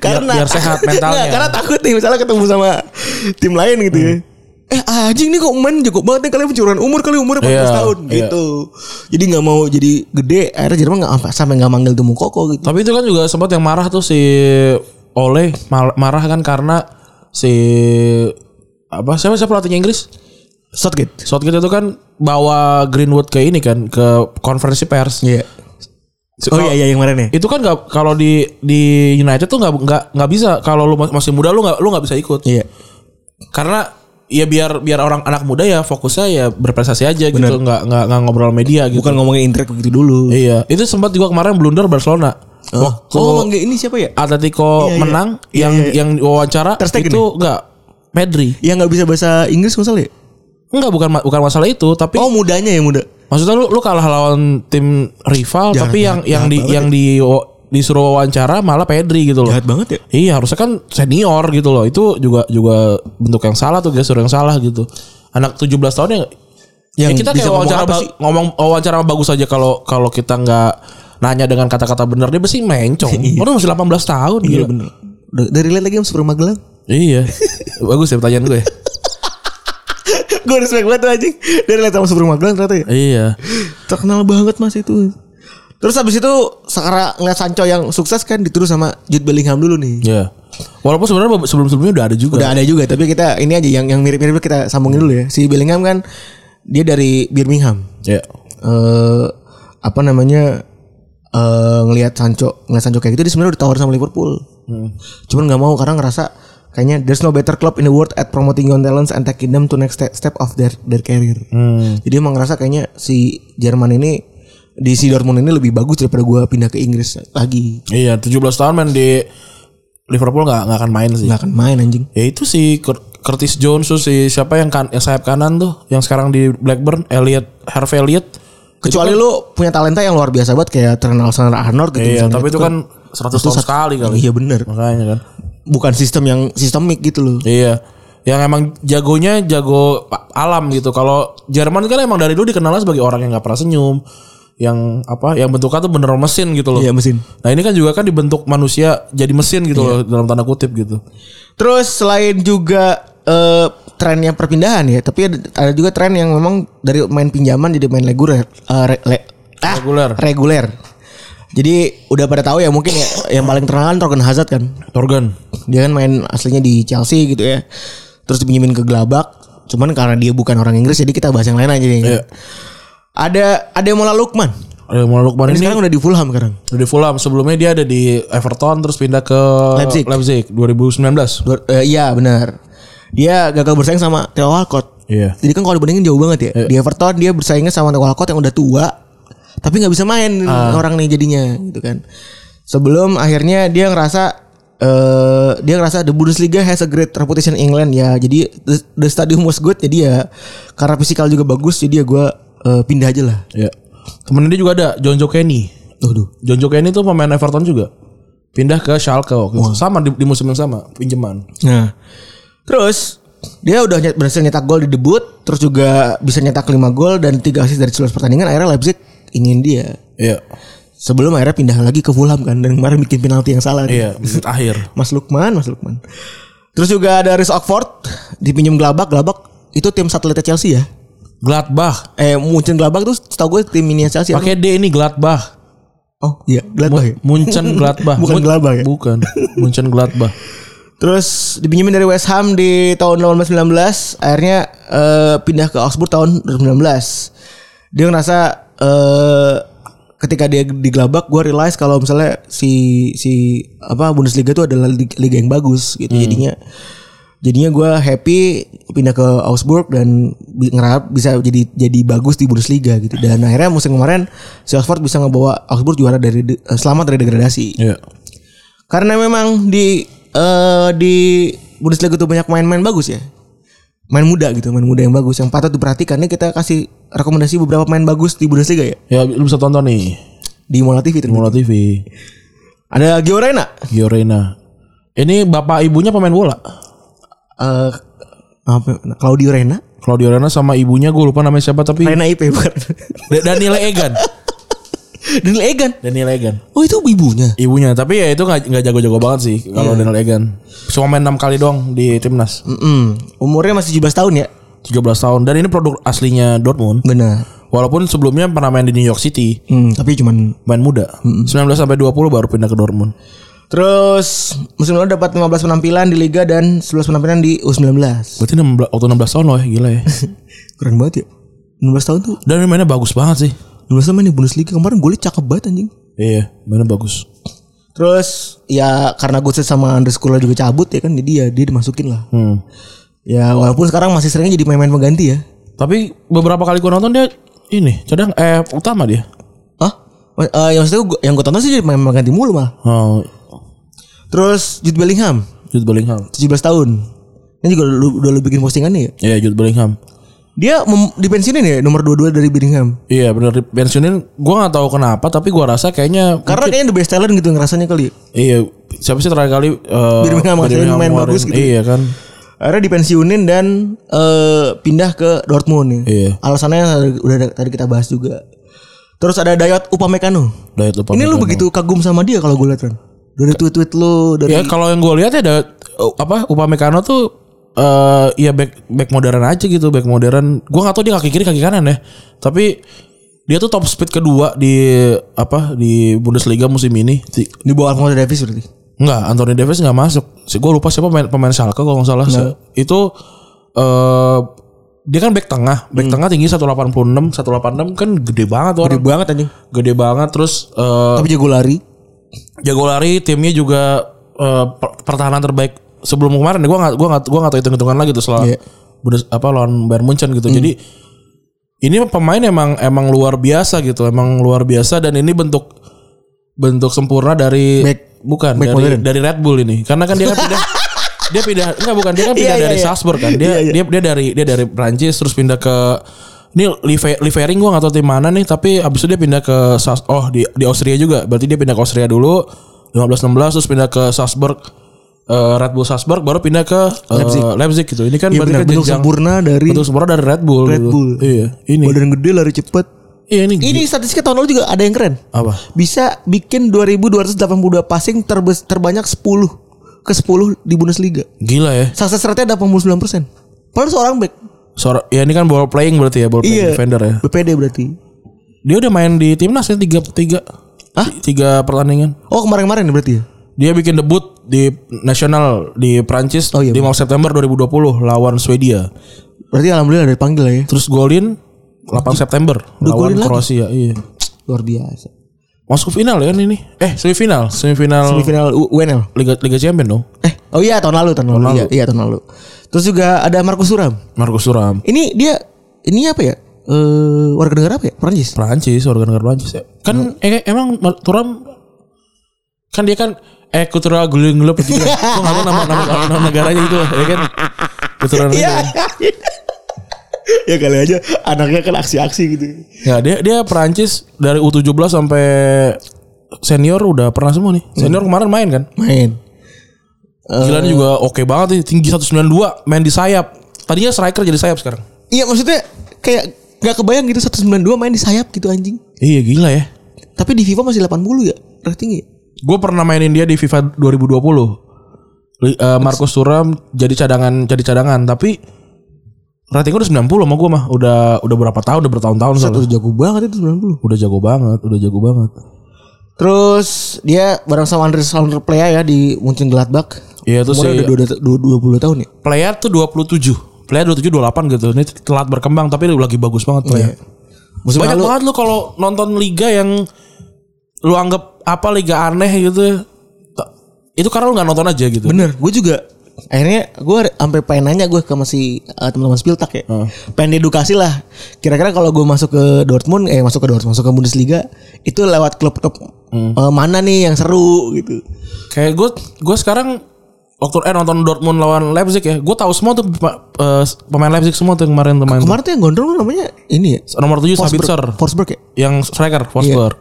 Speaker 3: karena
Speaker 2: biar sehat mentalnya.
Speaker 3: Nggak, karena takut nih misalnya ketemu sama tim lain gitu ya. Eh anjing nih kok main jago banget nih kalian pencurian umur kali umurnya 14
Speaker 2: Iya,
Speaker 3: tahun
Speaker 2: iya.
Speaker 3: gitu. Jadi nggak mau jadi gede akhirnya Jerman nggak apa- sampai nggak manggil tuh Mukoko gitu.
Speaker 2: Tapi itu kan juga sempat yang marah tuh si Ole mal- marah kan karena si apa siapa siapa pelatihnya Inggris?
Speaker 3: Shotgate.
Speaker 2: Southgate itu kan bawa Greenwood ke ini kan ke konferensi pers.
Speaker 3: Iya. Oh iya iya yang kemarin ya.
Speaker 2: Itu kan nggak kalau di di United tuh nggak nggak nggak bisa kalau lu masih muda lu nggak lu nggak bisa ikut.
Speaker 3: Iya.
Speaker 2: Karena ya biar biar orang anak muda ya fokusnya ya berprestasi aja gitu nggak nggak nggak ngobrol media gitu.
Speaker 3: Bukan ngomongin intrek begitu dulu.
Speaker 2: Iya, itu sempat juga kemarin blunder Barcelona. Waktu
Speaker 3: Oh, manggil ini siapa ya?
Speaker 2: Atletico
Speaker 3: Iya, iya.
Speaker 2: menang yang yang wawancara
Speaker 3: Ter Stegen ya?
Speaker 2: itu enggak Pedri.
Speaker 3: Yang nggak bisa bahasa Inggris nggak salah ya?
Speaker 2: Enggak bukan ma- bukan masalah itu, tapi
Speaker 3: Oh mudanya ya muda.
Speaker 2: maksudnya lu lu kalah lawan tim rival
Speaker 3: Jahat-
Speaker 2: tapi yang
Speaker 3: jahat-
Speaker 2: yang
Speaker 3: jahat
Speaker 2: di
Speaker 3: banget
Speaker 2: yang di wa- disuruh wawancara malah Pedri gitu loh.
Speaker 3: Jahat banget ya.
Speaker 2: Iya, harusnya kan senior gitu loh. Itu juga juga bentuk yang salah tuh guys, suruh yang salah gitu. Anak 17 tahun yang
Speaker 3: Yang
Speaker 2: ya kita
Speaker 3: bisa
Speaker 2: kayak
Speaker 3: ngomong
Speaker 2: wawancara
Speaker 3: apa
Speaker 2: ba-
Speaker 3: sih?
Speaker 2: ngomong oh, wawancara bagus aja kalau kalau kita nggak nanya dengan kata-kata benar dia pasti mencong. Orang masih 18 tahun
Speaker 3: Iya
Speaker 2: gila.
Speaker 3: bener. Udah- Dari lihat lagi sama Super Magelang.
Speaker 2: Iya. Bagus ya pertanyaan gue.
Speaker 3: gue respect banget tuh anjing. Dari lihat sama Super Magelang ternyata ya.
Speaker 2: iya.
Speaker 3: terkenal banget mas itu terus habis itu sekarang ngeliat Sancho yang sukses kan dituduh sama Jude Bellingham dulu nih
Speaker 2: Iya. Walaupun sebenarnya sebelum-sebelumnya udah ada juga.
Speaker 3: udah ada juga tapi kita ini aja yang yang mirip-mirip kita sambungin dulu ya si Bellingham kan dia dari Birmingham
Speaker 2: Iya.
Speaker 3: eh apa namanya eh ngelihat Sancho ngelihat Sancho kayak gitu dia sebenarnya ditawarin sama Liverpool cuman nggak mau karena ngerasa kayaknya there's no better club in the world at promoting young talents and taking them to next step, step of their their career
Speaker 2: Hmm.
Speaker 3: jadi emang ngerasa kayaknya si Jerman ini di si Dortmund ini lebih bagus daripada gua pindah ke Inggris lagi
Speaker 2: Iya, 17 tahun main di Liverpool nggak nggak akan main sih.
Speaker 3: nggak akan main anjing
Speaker 2: Ya itu si Cur- Curtis Jones tuh si siapa yang kan yang sayap kanan tuh yang sekarang di Blackburn Elliot Harvey Elliot.
Speaker 3: kecuali lu punya talenta yang luar biasa banget kayak Trent Alexander-Arnold gitu
Speaker 2: kan- Iya,
Speaker 3: misalnya.
Speaker 2: tapi itu kan 100 tahun
Speaker 3: satu-
Speaker 2: sekali kali.
Speaker 3: iya bener
Speaker 2: Makanya kan.
Speaker 3: bukan sistem yang sistemik gitu loh
Speaker 2: Iya. Yang emang jagonya jago alam gitu. Kalau Jerman kan emang dari dulu dikenalnya sebagai orang yang nggak pernah senyum, yang apa, yang bentuknya tuh bener mesin gitu loh.
Speaker 3: Iya, mesin. Iya.
Speaker 2: Nah ini kan juga kan dibentuk manusia jadi mesin gitu loh dalam tanda kutip gitu.
Speaker 3: Terus selain juga eh, trennya perpindahan ya, tapi ada, ada juga tren yang memang dari main pinjaman jadi main reguler, eh, re- le- ah,
Speaker 2: Reguler.
Speaker 3: reguler. Jadi udah pada tahu ya mungkin ya yang paling terkenal kan Torgan Hazard kan.
Speaker 2: Torgan.
Speaker 3: Dia kan main aslinya di Chelsea gitu ya. Terus dipinjemin ke Gelabak. Cuman karena dia bukan orang Inggris jadi kita bahas yang lain aja nih.
Speaker 2: Iya.
Speaker 3: Ada ada Mola Lukman.
Speaker 2: Ada mulai Lukman
Speaker 3: Ini
Speaker 2: ini
Speaker 3: sekarang udah di Fulham sekarang.
Speaker 2: udah di Fulham. Sebelumnya dia ada di Everton terus pindah ke
Speaker 3: Leipzig.
Speaker 2: 2019.
Speaker 3: Dua- eh, iya benar. Dia gagal bersaing sama Theo Walcott.
Speaker 2: Iya.
Speaker 3: Jadi kan kalau dibandingin jauh banget ya. Di Everton dia bersaingnya sama Walcott yang udah tua, tapi nggak bisa main orang nih jadinya gitu kan. Sebelum akhirnya dia ngerasa eh dia ngerasa the Bundesliga has a great reputation in England ya. Jadi the, the stadium was good jadi ya karena fisikal juga bagus jadi ya gue pindah aja lah.
Speaker 2: Iya. Temennya dia juga ada John Joe Kenny.
Speaker 3: Aduh.
Speaker 2: John Joe Kenny tuh pemain Everton juga. Pindah ke Schalke waktu itu. Sama di, di musim yang sama, pinjaman.
Speaker 3: Nah, terus dia udah nyet- berhasil nyetak gol di debut, terus juga bisa nyetak 5 gol dan 3 assist dari 11 pertandingan. Akhirnya Leipzig ingin dia.
Speaker 2: Iya.
Speaker 3: Sebelum akhirnya pindah lagi ke Fulham kan dan kemarin bikin penalti yang salah. dia.
Speaker 2: Iya, menit akhir.
Speaker 3: Mas Lukman, Mas Lukman. Terus juga ada Riz Oxford dipinjam Gelabak, Gelabak itu tim satelitnya Chelsea ya.
Speaker 2: Gladbach.
Speaker 3: Eh Munchen Gelabak tuh setahu gue tim mini Chelsea.
Speaker 2: Pakai D ini Gladbach.
Speaker 3: Oh iya, Gladbach ya.
Speaker 2: Munchen Gladbach.
Speaker 3: Bukan
Speaker 2: Mun-
Speaker 3: Gladbach ya?
Speaker 2: Bukan. Munchen Gladbach.
Speaker 3: Terus dipinjemin dari West Ham di tahun 1819, akhirnya eh, pindah ke Augsburg tahun 2019. Dia ngerasa eh ketika dia di Glabak gue realize kalau misalnya si si apa Bundesliga itu adalah lig- liga yang bagus gitu jadinya jadinya gue happy pindah ke Augsburg dan bi- ngerap bisa jadi jadi bagus di Bundesliga gitu dan akhirnya musim kemarin si Oxford bisa ngebawa Augsburg juara dari de- eh, selamat dari degradasi
Speaker 2: Iya.
Speaker 3: karena memang di eh di Bundesliga tuh banyak main-main bagus ya. Main muda gitu, main muda yang bagus yang patut diperhatikan. Ini kita kasih rekomendasi beberapa pemain bagus di Bundesliga ya.
Speaker 2: Ya lu bisa tonton nih
Speaker 3: Di Mola TV ternyata.
Speaker 2: Mola TV
Speaker 3: Ada Gio Reyna.
Speaker 2: Giorena. Ini bapak ibunya pemain bola.
Speaker 3: Eh, apa- Claudio Reyna.
Speaker 2: Claudio Reyna sama ibunya gue lupa namanya siapa tapi
Speaker 3: Reyna IP bukan.
Speaker 2: Da- Daniel Egan.
Speaker 3: Daniel Egan.
Speaker 2: Daniel Egan.
Speaker 3: Oh itu ibunya.
Speaker 2: Ibunya tapi ya itu nggak nggak jago-jago banget sih kalau Daniel Egan. Cuma main 6 kali doang di timnas.
Speaker 3: Mm-mm. Umurnya masih 17 tahun ya.
Speaker 2: 13 tahun dan ini produk aslinya Dortmund.
Speaker 3: Benar.
Speaker 2: Walaupun sebelumnya pernah main di New York City,
Speaker 3: Hmm, tapi cuman
Speaker 2: main muda. 19 sampai 20 baru pindah ke Dortmund.
Speaker 3: Terus musim lalu dapat 15 penampilan di liga dan 11 penampilan di U19.
Speaker 2: Berarti 16, waktu 16 tahun loh ya, gila ya.
Speaker 3: Keren banget ya. 16 tahun tuh.
Speaker 2: Dan mainnya bagus banget sih.
Speaker 3: 16 tahun main di Bundesliga kemarin golnya cakep banget anjing.
Speaker 2: Iya, mainnya bagus.
Speaker 3: Terus ya karena Gusset sama Underscore juga cabut ya kan jadi ya dia dimasukin lah.
Speaker 2: Hmm.
Speaker 3: Ya walaupun sekarang masih seringnya jadi main-main pengganti ya.
Speaker 2: Tapi beberapa kali gua nonton dia ini, cadang eh utama dia.
Speaker 3: Hah? Eh, yang maksudnya gua- yang gue tonton sih jadi main pengganti mulu malah.
Speaker 2: Oh,
Speaker 3: Terus Jude Bellingham
Speaker 2: Jude Bellingham.
Speaker 3: 17 tahun. Ini juga lu, udah lu bikin postingannya ya.
Speaker 2: Iya Jude Bellingham.
Speaker 3: Dia mem- dipensiunin ya nomor 22 dari Bellingham.
Speaker 2: Iya benar pensiunin. Gua nggak tahu kenapa tapi gua rasa kayaknya
Speaker 3: Karena kayaknya the best talent gitu ngerasanya kali.
Speaker 2: iya siapa sih terakhir kali eh,
Speaker 3: Birmingham hasilnya
Speaker 2: Birmingham
Speaker 3: main
Speaker 2: ngeluarin-
Speaker 3: bagus gitu.
Speaker 2: Iya kan.
Speaker 3: Akhirnya dipensiunin dan eh, pindah ke Dortmund ya.
Speaker 2: Iya.
Speaker 3: Alasannya udah ada- tadi kita bahas juga. Terus ada Dayot Upamecano.
Speaker 2: Dayot Upamecano.
Speaker 3: Ini lu begitu kagum sama dia kalau gue lihat kan. Dari tweet-tweet lu dari
Speaker 2: Ya kalau yang gua lihat ya ada eh, apa Upamecano tuh eh ya back back modern aja gitu, back modern. Gua nggak tahu dia kaki kiri kaki kanan ya. Tapi dia tuh top speed kedua di apa di Bundesliga musim ini. Ti-
Speaker 3: di bawah Alphonso Davies berarti.
Speaker 2: Enggak, Anthony Davis nggak masuk. Si gue lupa siapa pemain pemain Schalke kalau nggak salah. Si- Itu eh dia kan back tengah, back tengah tinggi 186, 186 kan gede banget tuh orang.
Speaker 3: Hmm. Gede
Speaker 2: Gede,
Speaker 3: banget anjing.
Speaker 2: banget terus eh
Speaker 3: Tapi jago lari.
Speaker 2: jago lari, timnya juga eh, per- pertahanan terbaik sebelum kemarin. Gue nggak gue nggak gue nggak tahu hitung-hitungan lagi tuh setelah
Speaker 3: Iya.
Speaker 2: Bundes- apa lawan Bayern Munchen gitu. Jadi ini pemain emang emang luar biasa gitu, emang luar biasa dan ini bentuk bentuk sempurna dari
Speaker 3: Back-
Speaker 2: bukan
Speaker 3: back
Speaker 2: dari
Speaker 3: modern.
Speaker 2: dari Red Bull ini. Karena kan dia kan pindah dia pindah enggak bukan dia kan pindah
Speaker 3: Iya, iya,
Speaker 2: dari
Speaker 3: iya.
Speaker 2: Salzburg kan. Dia
Speaker 3: Iya, iya.
Speaker 2: dia dia dari dia dari Prancis terus pindah ke ini Live- Livering gua gak tau tim mana nih tapi abis itu dia pindah ke Sas- oh di di Austria juga. Berarti dia pindah ke Austria dulu 15 16 terus pindah ke Salzburg eh, Red Bull Salzburg baru pindah ke eh, Leipzig. gitu. Ini kan
Speaker 3: Iya benar
Speaker 2: kan
Speaker 3: bentuk
Speaker 2: jenjang-
Speaker 3: sempurna dari
Speaker 2: bentuk sempurna dari Red Bull.
Speaker 3: Red
Speaker 2: gitu.
Speaker 3: Bull.
Speaker 2: Iya, ini.
Speaker 3: Badan gede lari cepet.
Speaker 2: Iya, ini.
Speaker 3: Ini statistiknya tahun lalu juga ada yang keren.
Speaker 2: apa?
Speaker 3: Bisa bikin 2282 passing terbes- terbanyak 10 ke 10 di Bundesliga.
Speaker 2: Gila ya.
Speaker 3: Success rate-nya ada 89%. Padahal seorang back.
Speaker 2: Seorang ya ini kan ball playing berarti ya, ball playing
Speaker 3: Iya.
Speaker 2: defender ya.
Speaker 3: BPD berarti.
Speaker 2: Dia udah main di timnas ya tiga tiga
Speaker 3: Hah?
Speaker 2: tiga pertandingan.
Speaker 3: Oh kemarin-kemarin berarti ya?
Speaker 2: Dia bikin debut di nasional di Prancis
Speaker 3: Oh, iya,
Speaker 2: 5 September 2020 lawan Swedia.
Speaker 3: Berarti alhamdulillah ada dipanggil lah ya.
Speaker 2: Terus golin 8 September lawan
Speaker 3: golin lagi?
Speaker 2: Kroasia. Iya.
Speaker 3: Luar biasa.
Speaker 2: Masuk ke final ya ini. Eh semifinal, semifinal,
Speaker 3: Semifinal U- UNL.
Speaker 2: Liga Liga Champion dong.
Speaker 3: Eh, oh iya tahun lalu tahun, lalu. Iya, iya, tahun lalu. Terus juga ada Markus Suram.
Speaker 2: Markus Thuram.
Speaker 3: Ini dia ini apa ya? Eh warga negara apa ya? Perancis.
Speaker 2: Prancis, warga negara Prancis ya. Kan eh, emang Mar- Thuram kan dia kan eh kultural guling gelap gitu. kan. Gua enggak tahu nama nama, nama negaranya itu ya kan. Kultural
Speaker 3: Iya.
Speaker 2: negara.
Speaker 3: ya kali aja anaknya kan aksi-aksi gitu.
Speaker 2: Ya dia dia Prancis dari U17 sampai senior udah pernah semua nih. Senior kemarin main kan.
Speaker 3: Main.
Speaker 2: Gilanya juga oke banget nih, tinggi 192, main di sayap. Tadinya striker jadi sayap sekarang.
Speaker 3: Iya maksudnya kayak nggak kebayang gitu 192 main di sayap gitu anjing.
Speaker 2: Iya gila ya.
Speaker 3: Tapi di FIFA masih 80 ya ratingnya.
Speaker 2: Gue pernah mainin dia di FIFA 2020. Li- eh, Markus Thuram jadi cadangan jadi cadangan tapi rating udah 90 sama gue mah udah udah berapa tahun udah bertahun-tahun
Speaker 3: Terus
Speaker 2: soalnya.
Speaker 3: jago banget itu 90.
Speaker 2: udah jago banget udah jago banget
Speaker 3: Terus dia bareng sama Andres Playa ya di Munchen Gladbach.
Speaker 2: Iya, terus
Speaker 3: Umurnya
Speaker 2: si-
Speaker 3: udah dua- dua- dua puluh tahun ya.
Speaker 2: player tuh 27 player 27 28 gitu ini telat berkembang tapi lagi bagus banget
Speaker 3: Iya.
Speaker 2: player
Speaker 3: Musim
Speaker 2: banyak
Speaker 3: lalu
Speaker 2: banget lu kalau nonton liga yang lu anggap apa liga aneh gitu Ta- itu karena lu nggak nonton aja gitu
Speaker 3: bener, gue juga akhirnya gue sampai pengen nanya gue ke masih eh, teman-teman Spiltak ya. Pengen edukasi lah. Kira-kira kalau gue masuk ke Dortmund eh masuk ke Dortmund, masuk ke Bundesliga itu Hmm. lewat klub-klub eh, mana nih yang seru gitu.
Speaker 2: kayak gue gue sekarang waktu eh nonton Dortmund lawan Leipzig ya. Gue tahu semua tuh pa- eh, pemain Leipzig semua tuh yang kemarin tuh main.
Speaker 3: Kemarin tuh yang gondrong namanya ini ya.
Speaker 2: Nomor 7
Speaker 3: Forsberg.
Speaker 2: Sabitzer.
Speaker 3: Forsberg ya.
Speaker 2: Yang striker Forsberg.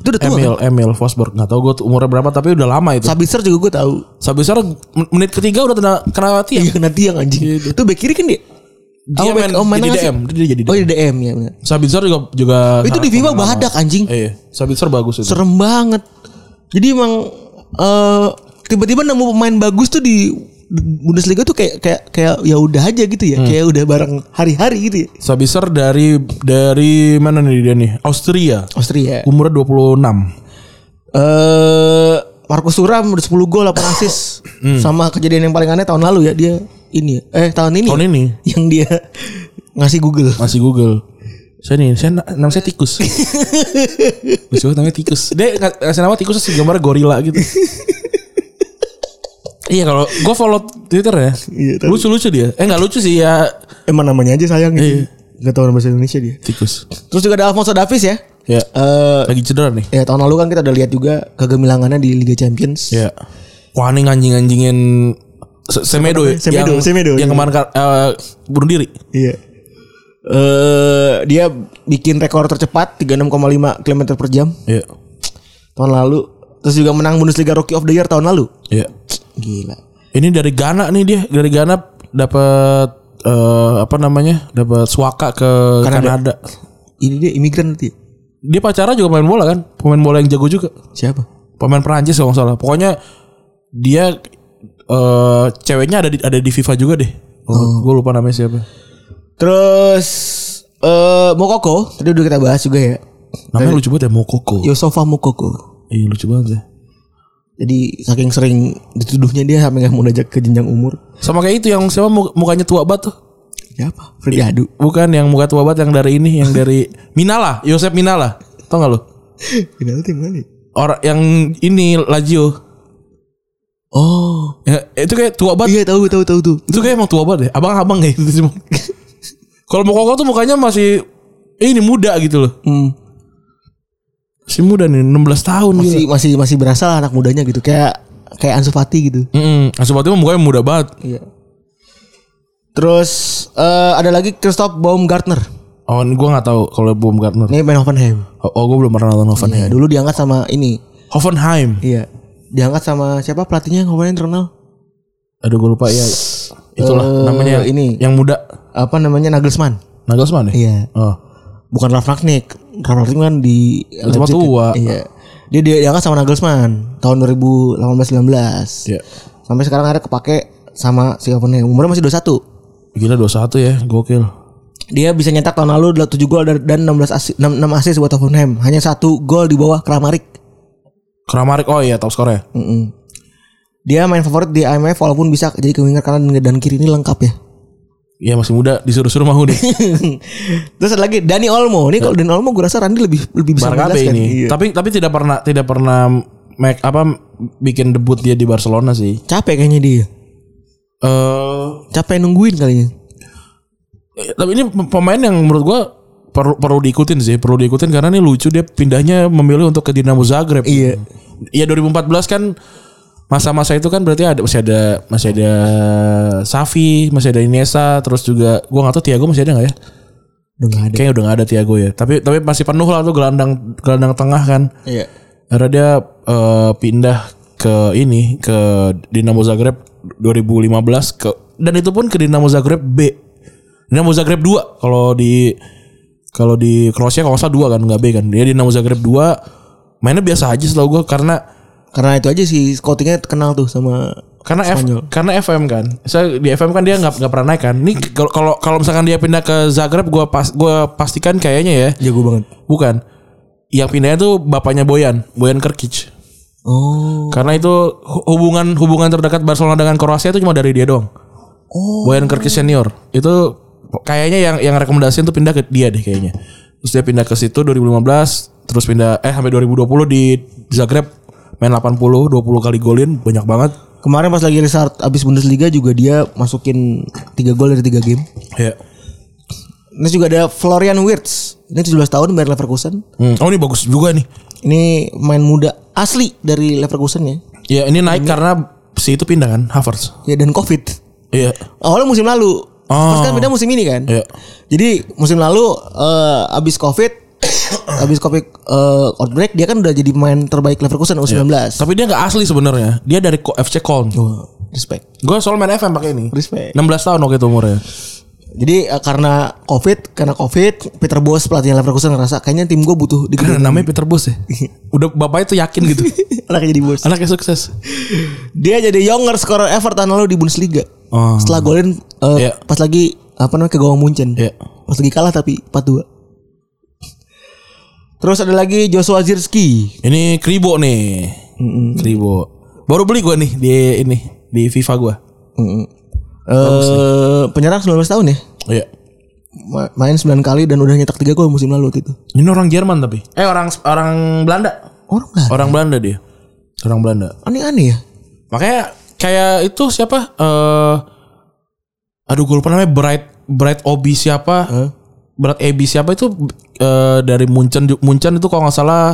Speaker 3: Itu udah tua.
Speaker 2: Emil, Emil Forsberg. Gak tau gue umurnya berapa tapi udah lama itu.
Speaker 3: Kan? Sabitzer juga gue tahu.
Speaker 2: Sabitzer men- menit ketiga udah kena kena
Speaker 3: Iya
Speaker 2: latihan.
Speaker 3: nanti yang anjing. Itu back kiri kan dia.
Speaker 2: Dia
Speaker 3: Apa
Speaker 2: main,
Speaker 3: back- oh, main
Speaker 2: jadi
Speaker 3: tengah sih?
Speaker 2: DM, dia jadi DM.
Speaker 3: Oh di DM ya. bener.
Speaker 2: Sabitzer juga juga
Speaker 3: Itu di FIFA badak anjing.
Speaker 2: Iya, Sabitzer bagus itu.
Speaker 3: Serem banget. Jadi emang eh, tiba-tiba nemu pemain bagus tuh di Bundesliga tuh kayak kayak kayak ya udah aja gitu ya. Kayak udah bareng hari-hari gitu ya.
Speaker 2: Sabitzer dari dari mana nih dia nih? Austria.
Speaker 3: Austria.
Speaker 2: Umurnya 26.
Speaker 3: Eh Marcus Thuram udah 10 gol 8 assist. Sama kejadian yang paling aneh tahun lalu ya dia ini ya. eh tahun ini
Speaker 2: Tahun
Speaker 3: ya?
Speaker 2: ini
Speaker 3: yang dia ngasih Google.
Speaker 2: masih Google. Saya nih, saya na- nama saya tikus. Bisa namanya tikus. Dia ngas- ngasih nama tikus terus gambar gorila gitu. iya kalau gue follow Twitter ya.
Speaker 3: Iya, tapi-
Speaker 2: Lucu-lucu dia. Eh nggak lucu sih ya
Speaker 3: Emang namanya aja sayang gitu. Gak tau nama bahasa Indonesia dia.
Speaker 2: tikus.
Speaker 3: Terus juga ada Alfonso Davies ya.
Speaker 2: Ya.
Speaker 3: Eh
Speaker 2: Lagi cedera nih.
Speaker 3: ya tahun lalu kan kita udah lihat juga kegemilangannya di Liga Champions.
Speaker 2: Ya. Wah ini anjing-anjingin Se- Semedo ya.
Speaker 3: Semedo,
Speaker 2: yang,
Speaker 3: Semedo,
Speaker 2: Yang
Speaker 3: iya.
Speaker 2: kemarin kar- eh, bunuh diri.
Speaker 3: Iya. Eh dia bikin rekor tercepat 36,5 km per jam
Speaker 2: Iya.
Speaker 3: tahun lalu. Terus juga menang Bundesliga Rookie of the Year tahun lalu.
Speaker 2: Iya.
Speaker 3: Gila.
Speaker 2: Ini dari Ghana nih dia. Dari Ghana dapat eh, apa namanya? Dapat suaka ke Kanada.
Speaker 3: Ini dia imigran ya? nanti.
Speaker 2: Dia pacarnya juga pemain bola kan? Pemain bola yang jago juga.
Speaker 3: Siapa?
Speaker 2: Pemain Perancis kalau nggak salah. Pokoknya dia eh ceweknya ada di ada di FIFA juga deh. Gue lupa namanya siapa.
Speaker 3: Terus eh Mokoko tadi udah kita bahas juga ya.
Speaker 2: Namanya lucu banget ya Mokoko.
Speaker 3: Yosofa Mokoko.
Speaker 2: Iya lucu banget ya.
Speaker 3: Jadi saking sering dituduhnya dia sampai nggak mau diajak ke jenjang umur.
Speaker 2: Sama kayak itu yang siapa mu- mukanya tua banget tuh.
Speaker 3: Siapa? Freddy Adu.
Speaker 2: Bukan yang muka tua banget yang dari ini yang dari Minala, Yosep Minala. Tau gak lu?
Speaker 3: Final tim mana?
Speaker 2: Orang yang ini Lazio.
Speaker 3: Oh,
Speaker 2: Ya, itu kayak tua banget.
Speaker 3: iya tahu tahu tahu tuh.
Speaker 2: Itu kayak emang tua banget ya. Abang-abang kayak gitu semua. Kalau mau kokok tuh mukanya masih ini muda gitu loh.
Speaker 3: Hmm.
Speaker 2: Masih muda nih 16 tahun
Speaker 3: Masih
Speaker 2: gitu.
Speaker 3: masih masih berasa lah anak mudanya gitu kayak kayak Ansu Fati gitu.
Speaker 2: Heeh. Asupatnya mukanya muda banget.
Speaker 3: Iya. Terus eh, ada lagi Christoph Baumgartner.
Speaker 2: Oh, ini gua nggak tahu kalau Baumgartner.
Speaker 3: Ini main Hoffenheim.
Speaker 2: Oh, oh, gua belum pernah nonton
Speaker 3: Ya,
Speaker 2: Hoffenheim.
Speaker 3: dulu diangkat sama ini.
Speaker 2: Hoffenheim.
Speaker 3: Iya. Diangkat sama siapa pelatihnya yang Hoffenheim terkenal?
Speaker 2: Aduh, gua lupa ya. Itulah
Speaker 3: Eh,
Speaker 2: namanya
Speaker 3: ini.
Speaker 2: yang muda.
Speaker 3: Apa namanya Nagelsmann?
Speaker 2: Nagelsmann ya?
Speaker 3: Iya.
Speaker 2: Oh.
Speaker 3: bukan Ralf Rangnick. Ralf Rangnick kan di
Speaker 2: Cuma
Speaker 3: Leipzig.
Speaker 2: tua.
Speaker 3: Iya. Dia dia diangkat sama Nagelsmann tahun 2018-19.
Speaker 2: Iya.
Speaker 3: Sampai sekarang akhirnya kepake sama si Hoffenheim. Umurnya masih 21.
Speaker 2: Gila 21 ya, gokil.
Speaker 3: Dia bisa nyetak tahun lalu adalah 7 gol dan- dan 16 asis, 6, 6 asis buat Hoffenheim. Hanya satu gol di bawah Kramaric.
Speaker 2: Kramarik oh iya top skornya.
Speaker 3: Mm-mm. Dia main favorit di IMF walaupun bisa jadi ke winger kanan dan kiri ini lengkap ya.
Speaker 2: Iya masih muda disuruh-suruh mau deh.
Speaker 3: Terus ada lagi Dani Olmo. Ini kalau Dani Olmo gue rasa Randi lebih lebih bisa
Speaker 2: Barca
Speaker 3: menjelaskan.
Speaker 2: ini.
Speaker 3: Iya.
Speaker 2: Tapi tapi tidak pernah tidak pernah make apa bikin debut dia di Barcelona sih.
Speaker 3: Capek kayaknya dia.
Speaker 2: Eh
Speaker 3: Capek nungguin kalinya.
Speaker 2: tapi ini pemain yang menurut gua perlu perlu diikutin sih, perlu diikutin karena ini lucu dia pindahnya memilih untuk ke Dinamo Zagreb.
Speaker 3: Iya.
Speaker 2: Iya 2014 kan masa-masa itu kan berarti ada masih ada masih ada Safi, masih ada Iniesta, terus juga gua nggak tahu Thiago masih ada nggak ya?
Speaker 3: Udah gak ada.
Speaker 2: Kayaknya udah nggak ada Thiago ya. Tapi tapi masih penuh lah tuh gelandang gelandang tengah kan.
Speaker 3: Iya.
Speaker 2: Karena dia eh, pindah ke ini ke Dinamo Zagreb 2015 ke dan itu pun ke Dinamo Zagreb B. Dinamo Zagreb 2 kalau di kalau di Kroasia kalau nggak salah 2 kan nggak B kan. Dia Dinamo Zagreb 2 mainnya biasa aja setahu gua karena
Speaker 3: Karena itu aja sih scoutingnya kenal tuh sama
Speaker 2: karena F,
Speaker 3: Spanyol.
Speaker 2: karena FM kan. Saya di FM kan dia nggak nggak pernah naik kan. Ini kalau kalau kalau misalkan dia pindah ke Zagreb gua pas gua pastikan kayaknya ya.
Speaker 3: jago banget.
Speaker 2: Bukan. Yang pindahnya tuh bapaknya Boyan, Boyan Kerkic.
Speaker 3: Oh.
Speaker 2: Karena itu hu- hubungan hubungan terdekat Barcelona dengan Kroasia itu cuma dari dia doang.
Speaker 3: Oh.
Speaker 2: Boyan Kerkic senior. Itu kayaknya yang yang rekomendasiin tuh pindah ke dia deh kayaknya. Terus dia pindah ke situ 2015, terus pindah eh sampai 2020 di Zagreb main 80, 20 kali golin banyak banget.
Speaker 3: Kemarin pas lagi restart abis Bundesliga juga dia masukin 3 gol dari 3 game.
Speaker 2: Ya.
Speaker 3: Terus juga ada Florian Wirtz. Ini 17 tahun Bayer Leverkusen.
Speaker 2: Oh ini bagus juga nih.
Speaker 3: Ini main muda asli dari Leverkusen ya.
Speaker 2: Ya Iya, ini naik karena si itu pindah kan Havertz.
Speaker 3: Ya dan Covid.
Speaker 2: Iya.
Speaker 3: Awalnya musim lalu.
Speaker 2: Oh.
Speaker 3: Terus kan pindah musim ini kan.
Speaker 2: Iya.
Speaker 3: Jadi musim lalu eh, abis Covid abis Covid eh, outbreak dia kan udah jadi pemain terbaik Leverkusen U19.
Speaker 2: Tapi dia nggak asli sebenarnya. Dia dari Ko- FC Köln.
Speaker 3: Respect.
Speaker 2: Gue soal main FM pakai ini.
Speaker 3: Respect.
Speaker 2: 16 tahun waktu itu umurnya.
Speaker 3: Jadi eh, karena Covid, karena Covid Peter Bos pelatihnya Leverkusen ngerasa kayaknya tim gue butuh
Speaker 2: Karena
Speaker 3: digedein.
Speaker 2: namanya Peter Bos ya. Udah bapaknya tuh yakin gitu.
Speaker 3: Anaknya jadi bos.
Speaker 2: Anaknya sukses.
Speaker 3: Dia jadi younger scorer Everton lalu di Bundesliga.
Speaker 2: Oh.
Speaker 3: Setelah golin eh,
Speaker 2: Iya.
Speaker 3: pas lagi apa namanya ke gawang Munchen.
Speaker 2: Iya.
Speaker 3: Pas lagi kalah tapi 4-2. Terus ada lagi Joshua Zirski.
Speaker 2: Ini Kribo nih. Kribo. Baru beli gue nih di ini di FIFA gue.
Speaker 3: Eh penyerang 19 tahun ya.
Speaker 2: Iya.
Speaker 3: Ma- Main 9 kali dan udah nyetak 3 gol musim lalu waktu itu.
Speaker 2: Ini orang Jerman tapi. Eh orang orang Belanda.
Speaker 3: Orang lah.
Speaker 2: Orang Belanda dia. Orang Belanda.
Speaker 3: Aneh-aneh ya.
Speaker 2: Makanya kayak itu siapa? eh aduh gue lupa namanya Bright Bright Obi siapa? Bright Obi siapa itu eh dari Munchen ju- Munchen itu kalau nggak salah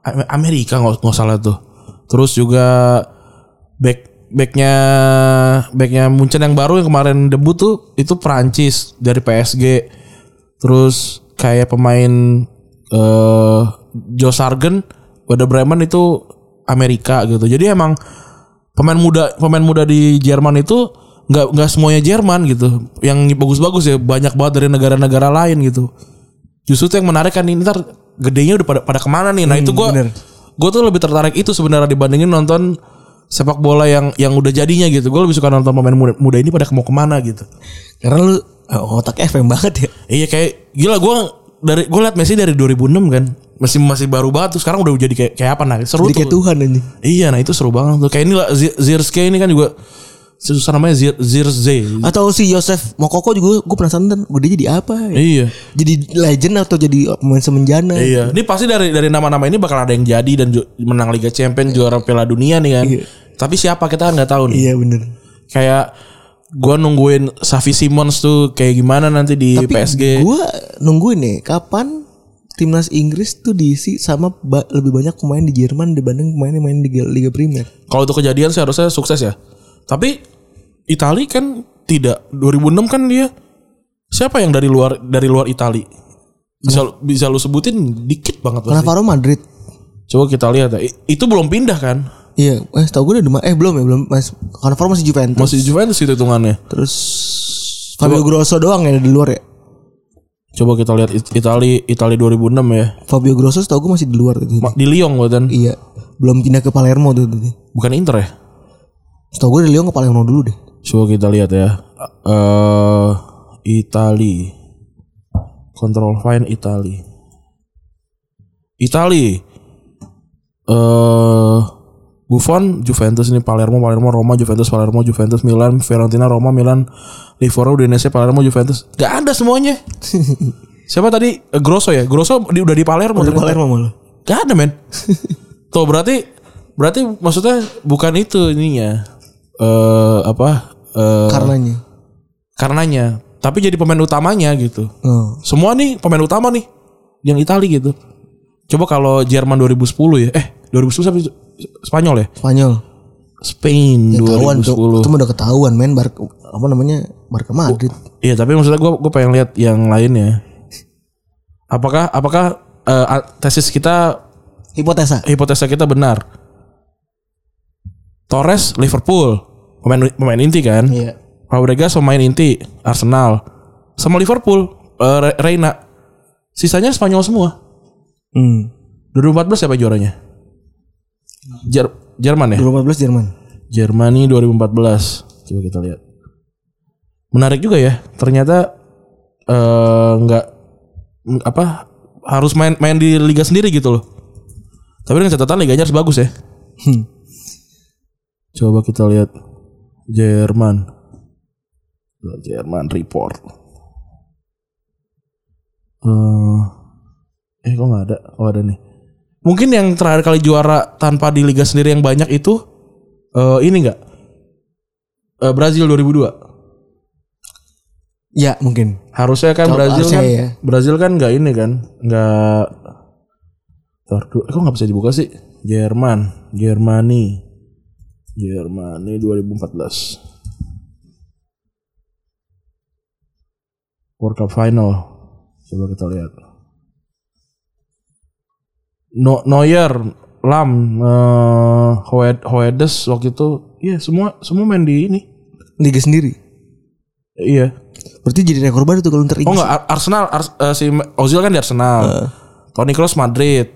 Speaker 2: A- Amerika nggak nggak salah tuh. Terus juga back backnya backnya Munchen yang baru yang kemarin debut tuh itu Perancis dari PSG. Terus kayak pemain eh Joe Sargent, Werder Bremen itu Amerika gitu. Jadi emang pemain muda pemain muda di Jerman itu nggak nggak semuanya Jerman gitu yang bagus-bagus ya banyak banget dari negara-negara lain gitu justru itu yang menarik kan ini ntar gedenya udah pada pada kemana nih nah itu gue gue tuh lebih tertarik itu sebenarnya dibandingin nonton sepak bola yang yang udah jadinya gitu gue lebih suka nonton pemain muda, muda ini pada mau kemana gitu
Speaker 3: Karena lu eh, otaknya FM banget ya.
Speaker 2: iya kayak gila gue dari gue liat Messi dari 2006 kan masih masih baru banget tuh sekarang udah jadi kayak kayak apa nah seru
Speaker 3: Jadi kayak
Speaker 2: tuh.
Speaker 3: Tuhan anjing.
Speaker 2: Iya, nah itu seru banget tuh. Kayak ini lah Z- Zirske ini kan juga susah namanya Zir Zirze.
Speaker 3: Atau si Yosef Mokoko juga gue penasaran dan gede jadi apa ya?
Speaker 2: Iya.
Speaker 3: Jadi legend atau jadi pemain semenjana?
Speaker 2: Iya. Ini pasti dari dari nama-nama ini bakal ada yang jadi dan ju- menang Liga Champions, juara Piala Dunia nih kan. Tapi siapa kita kan nggak tahu nih.
Speaker 3: Iya bener.
Speaker 2: Kayak gua nungguin Savi Simons tuh kayak gimana nanti di
Speaker 3: Tapi
Speaker 2: PSG.
Speaker 3: Gue nungguin nih kapan timnas Inggris tuh diisi sama ba- lebih banyak pemain di Jerman dibanding pemain yang main di Liga, Liga Primer.
Speaker 2: Kalau itu kejadian sih harusnya sukses ya. Tapi Itali kan tidak 2006 kan dia siapa yang dari luar dari luar Itali? Bisa bisa lu sebutin dikit banget pasti.
Speaker 3: Cannavaro Madrid.
Speaker 2: Coba kita lihat ya. I- Itu belum pindah kan?
Speaker 3: Iya, eh tau gue udah di- eh belum ya belum mas Cannavaro masih Juventus.
Speaker 2: Masih di Juventus itu hitungannya.
Speaker 3: Terus Fabio Grosso doang yang ada di luar ya.
Speaker 2: Coba kita lihat It- Itali Itali 2006 ya.
Speaker 3: Fabio Grosso tau gue masih di luar gitu.
Speaker 2: Ma- Di Lyon bukan?
Speaker 3: iya, belum pindah ke Palermo tuh. tuh.
Speaker 2: Bukan Inter ya?
Speaker 3: Tau gue di Lyon ke Palermo dulu deh.
Speaker 2: Coba kita lihat ya. Eh Itali. Control find Itali. Itali. Eh Buffon, Juventus ini Palermo, Palermo, Roma, Juventus, Palermo, Juventus, Milan, Fiorentina, Roma, Milan, Livorno, Udinese, Palermo, Juventus. Gak ada semuanya. Siapa tadi? Eh, Grosso ya. Grosso di, udah di Palermo.
Speaker 3: Ke
Speaker 2: ternyata.
Speaker 3: Palermo malah.
Speaker 2: Gak ada men. Tuh berarti berarti maksudnya bukan itu ininya. Eh apa? Eh
Speaker 3: Karenanya.
Speaker 2: karenanya, tapi jadi pemain utamanya gitu.
Speaker 3: Oh.
Speaker 2: Semua nih pemain utama nih yang Itali gitu. Coba kalau Jerman 2010 ya. Eh, 2010 siapa? Spanyol ya?
Speaker 3: Spanyol.
Speaker 2: Spain
Speaker 3: Ketahuan tuh.
Speaker 2: 2010.
Speaker 3: Itu mah udah ketahuan men Bar apa namanya? Barca Madrid.
Speaker 2: Iya, tapi maksudnya gue gue pengen lihat yang lainnya. Apakah apakah eh, a- tesis kita
Speaker 3: Hipotesa.
Speaker 2: hipotesa kita benar. Torres Liverpool pemain pemain inti kan.
Speaker 3: Iya.
Speaker 2: Fabregas pemain inti Arsenal sama Liverpool eh, Re- Reina. Sisanya Spanyol semua.
Speaker 3: Hmm.
Speaker 2: 2014 siapa juaranya? Jer- Jerman ya?
Speaker 3: 2014 Jerman.
Speaker 2: Jermani 2014. Coba kita lihat. Menarik juga ya. Ternyata eh, nggak m- apa harus main main di liga sendiri gitu loh. Tapi dengan catatan liganya harus bagus ya. Coba kita lihat Jerman. Tuh, Jerman report. Eh, eh kok nggak ada? Oh ada nih. Mungkin yang terakhir kali juara tanpa di liga sendiri yang banyak itu eh ini enggak? Eh, Brazil 2002.
Speaker 3: Ya, mungkin.
Speaker 2: Harusnya kan
Speaker 3: Kalau
Speaker 2: Brazil
Speaker 3: harusnya
Speaker 2: kan
Speaker 3: ya.
Speaker 2: Brazil kan nggak ini kan? Nggak Ntar dulu. Eh, kok nggak bisa dibuka sih? Jerman, Jermani. Jermani 2014. World Cup Final. Coba kita lihat. No Neuer, Lam, eh, Hoed- Hoedes waktu itu, iya semua semua main di ini.
Speaker 3: Liga sendiri.
Speaker 2: Iya.
Speaker 3: Berarti jadi rekor baru tuh kalau ntar
Speaker 2: Oh
Speaker 3: Inggris.
Speaker 2: enggak Ar- Arsenal Ars- eh, si Ma- Ozil kan di Arsenal. Toni Kroos Madrid.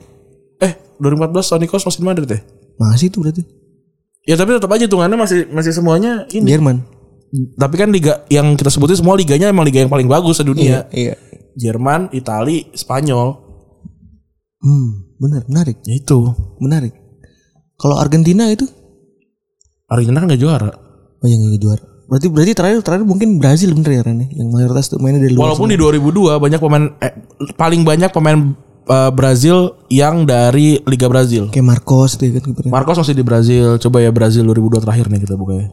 Speaker 2: Eh 2014 Toni Kroos masih di Madrid ya?
Speaker 3: Masih tuh berarti.
Speaker 2: Ya tapi tetap aja hitungannya masih masih semuanya ini.
Speaker 3: Jerman.
Speaker 2: Tapi kan liga yang kita sebutin semua liganya emang liga yang paling bagus sedunia.
Speaker 3: Iya.
Speaker 2: Jerman, Itali, Spanyol.
Speaker 3: Hmm, benar, menarik,
Speaker 2: Ya itu.
Speaker 3: menarik. Kalau Argentina itu
Speaker 2: Argentina kan gak juara.
Speaker 3: oh yang nggak juara. Berarti berarti terakhir terakhir mungkin Brazil bener ya Ren ya? yang mayoritas tuh mainnya dari luar.
Speaker 2: Walaupun di 2002 banyak pemain eh, paling banyak pemain eh, Brazil yang dari Liga Brazil.
Speaker 3: kayak Marcos tuh ya kan kipernya.
Speaker 2: Marcos masih di Brazil. Coba ya Brazil 2002 terakhir nih kita buka ya.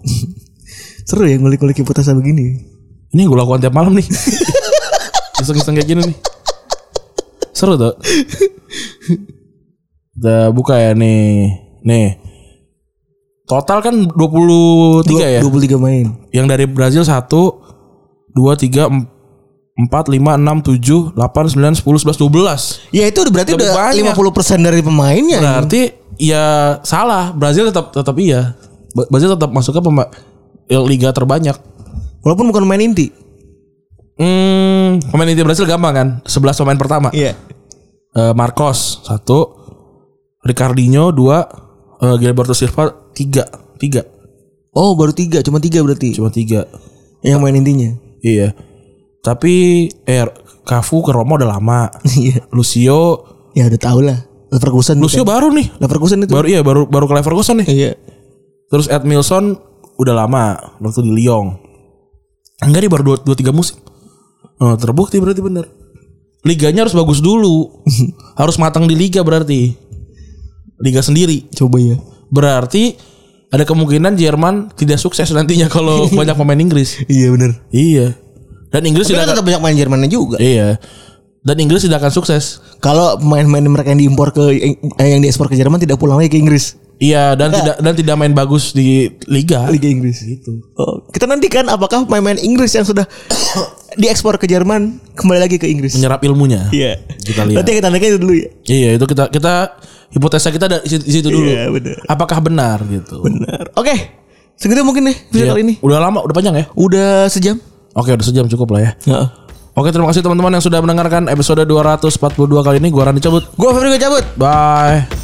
Speaker 3: Seru ya ngulik-ngulik hipotesa begini.
Speaker 2: Ini yang gue lakukan tiap malam nih. Iseng-iseng kayak gini nih. Seru tuh. Kita buka ya nih. Nih. Total kan 23 ya.
Speaker 3: 23 main.
Speaker 2: Yang dari Brazil 1 2 3 4 5 6 7 8 9 10 11 12.
Speaker 3: Ya itu udah berarti
Speaker 2: Lebih banyak.
Speaker 3: udah 50% dari pemainnya.
Speaker 2: Berarti ya salah. Brazil tetap tetap iya. Ba- Brazil tetap masuknya pema- ya, liga terbanyak.
Speaker 3: Walaupun bukan main inti.
Speaker 2: Hmm, pemain inti Brazil gampang kan? 11 pemain pertama.
Speaker 3: Iya.
Speaker 2: Eh, Marcos satu, Ricardinho dua, eh, Gilberto Silva tiga, tiga,
Speaker 3: Oh, baru tiga, cuma tiga berarti.
Speaker 2: cuma tiga.
Speaker 3: Yang main intinya.
Speaker 2: Iya. Tapi eh Cafu ke Roma udah lama.
Speaker 3: Iya.
Speaker 2: Lucio,
Speaker 3: ya udah tau lah. Leverkusen.
Speaker 2: Lucio
Speaker 3: bukan?
Speaker 2: baru nih.
Speaker 3: Leverkusen itu.
Speaker 2: Baru iya baru baru ke Leverkusen nih.
Speaker 3: Iya.
Speaker 2: Terus Edmilson udah lama waktu di Lyon. Enggak dia baru dua, dua tiga musim. Oh, terbukti berarti bener. Liganya harus bagus dulu. harus matang di liga berarti. Liga sendiri.
Speaker 3: Coba ya.
Speaker 2: Berarti ada kemungkinan Jerman tidak sukses nantinya kalau banyak pemain Inggris.
Speaker 3: Iya benar.
Speaker 2: Iya. Dan Inggris
Speaker 3: Tapi
Speaker 2: tidak
Speaker 3: kan
Speaker 2: akan,
Speaker 3: tetap banyak main Jermannya juga.
Speaker 2: iya. Dan Inggris tidak akan sukses.
Speaker 3: Kalau pemain-pemain mereka yang diimpor ke eh, yang diekspor ke Jerman tidak pulang lagi ke Inggris.
Speaker 2: Iya, dan tidak dan tidak main bagus di liga.
Speaker 3: Liga Inggris itu. Oh, kita nantikan apakah pemain-pemain Inggris yang sudah diekspor ke Jerman kembali lagi ke Inggris.
Speaker 2: Menyerap ilmunya.
Speaker 3: Iya.
Speaker 2: Kita lihat.
Speaker 3: Berarti kita nantikan itu dulu ya.
Speaker 2: Iya, itu kita kita hipotesa kita dari situ, situ dulu.
Speaker 3: Iya, benar.
Speaker 2: Apakah benar gitu?
Speaker 3: Benar. Oke. Segitu mungkin nih video
Speaker 2: Iya.
Speaker 3: kali ini.
Speaker 2: Udah lama, udah panjang ya?
Speaker 3: Udah sejam.
Speaker 2: Oke, udah sejam cukup lah ya.
Speaker 3: Heeh.
Speaker 2: Oke, terima kasih teman-teman yang sudah mendengarkan episode 242 kali ini. Gua Rani cabut.
Speaker 3: Gua Febri gua cabut.
Speaker 2: Bye.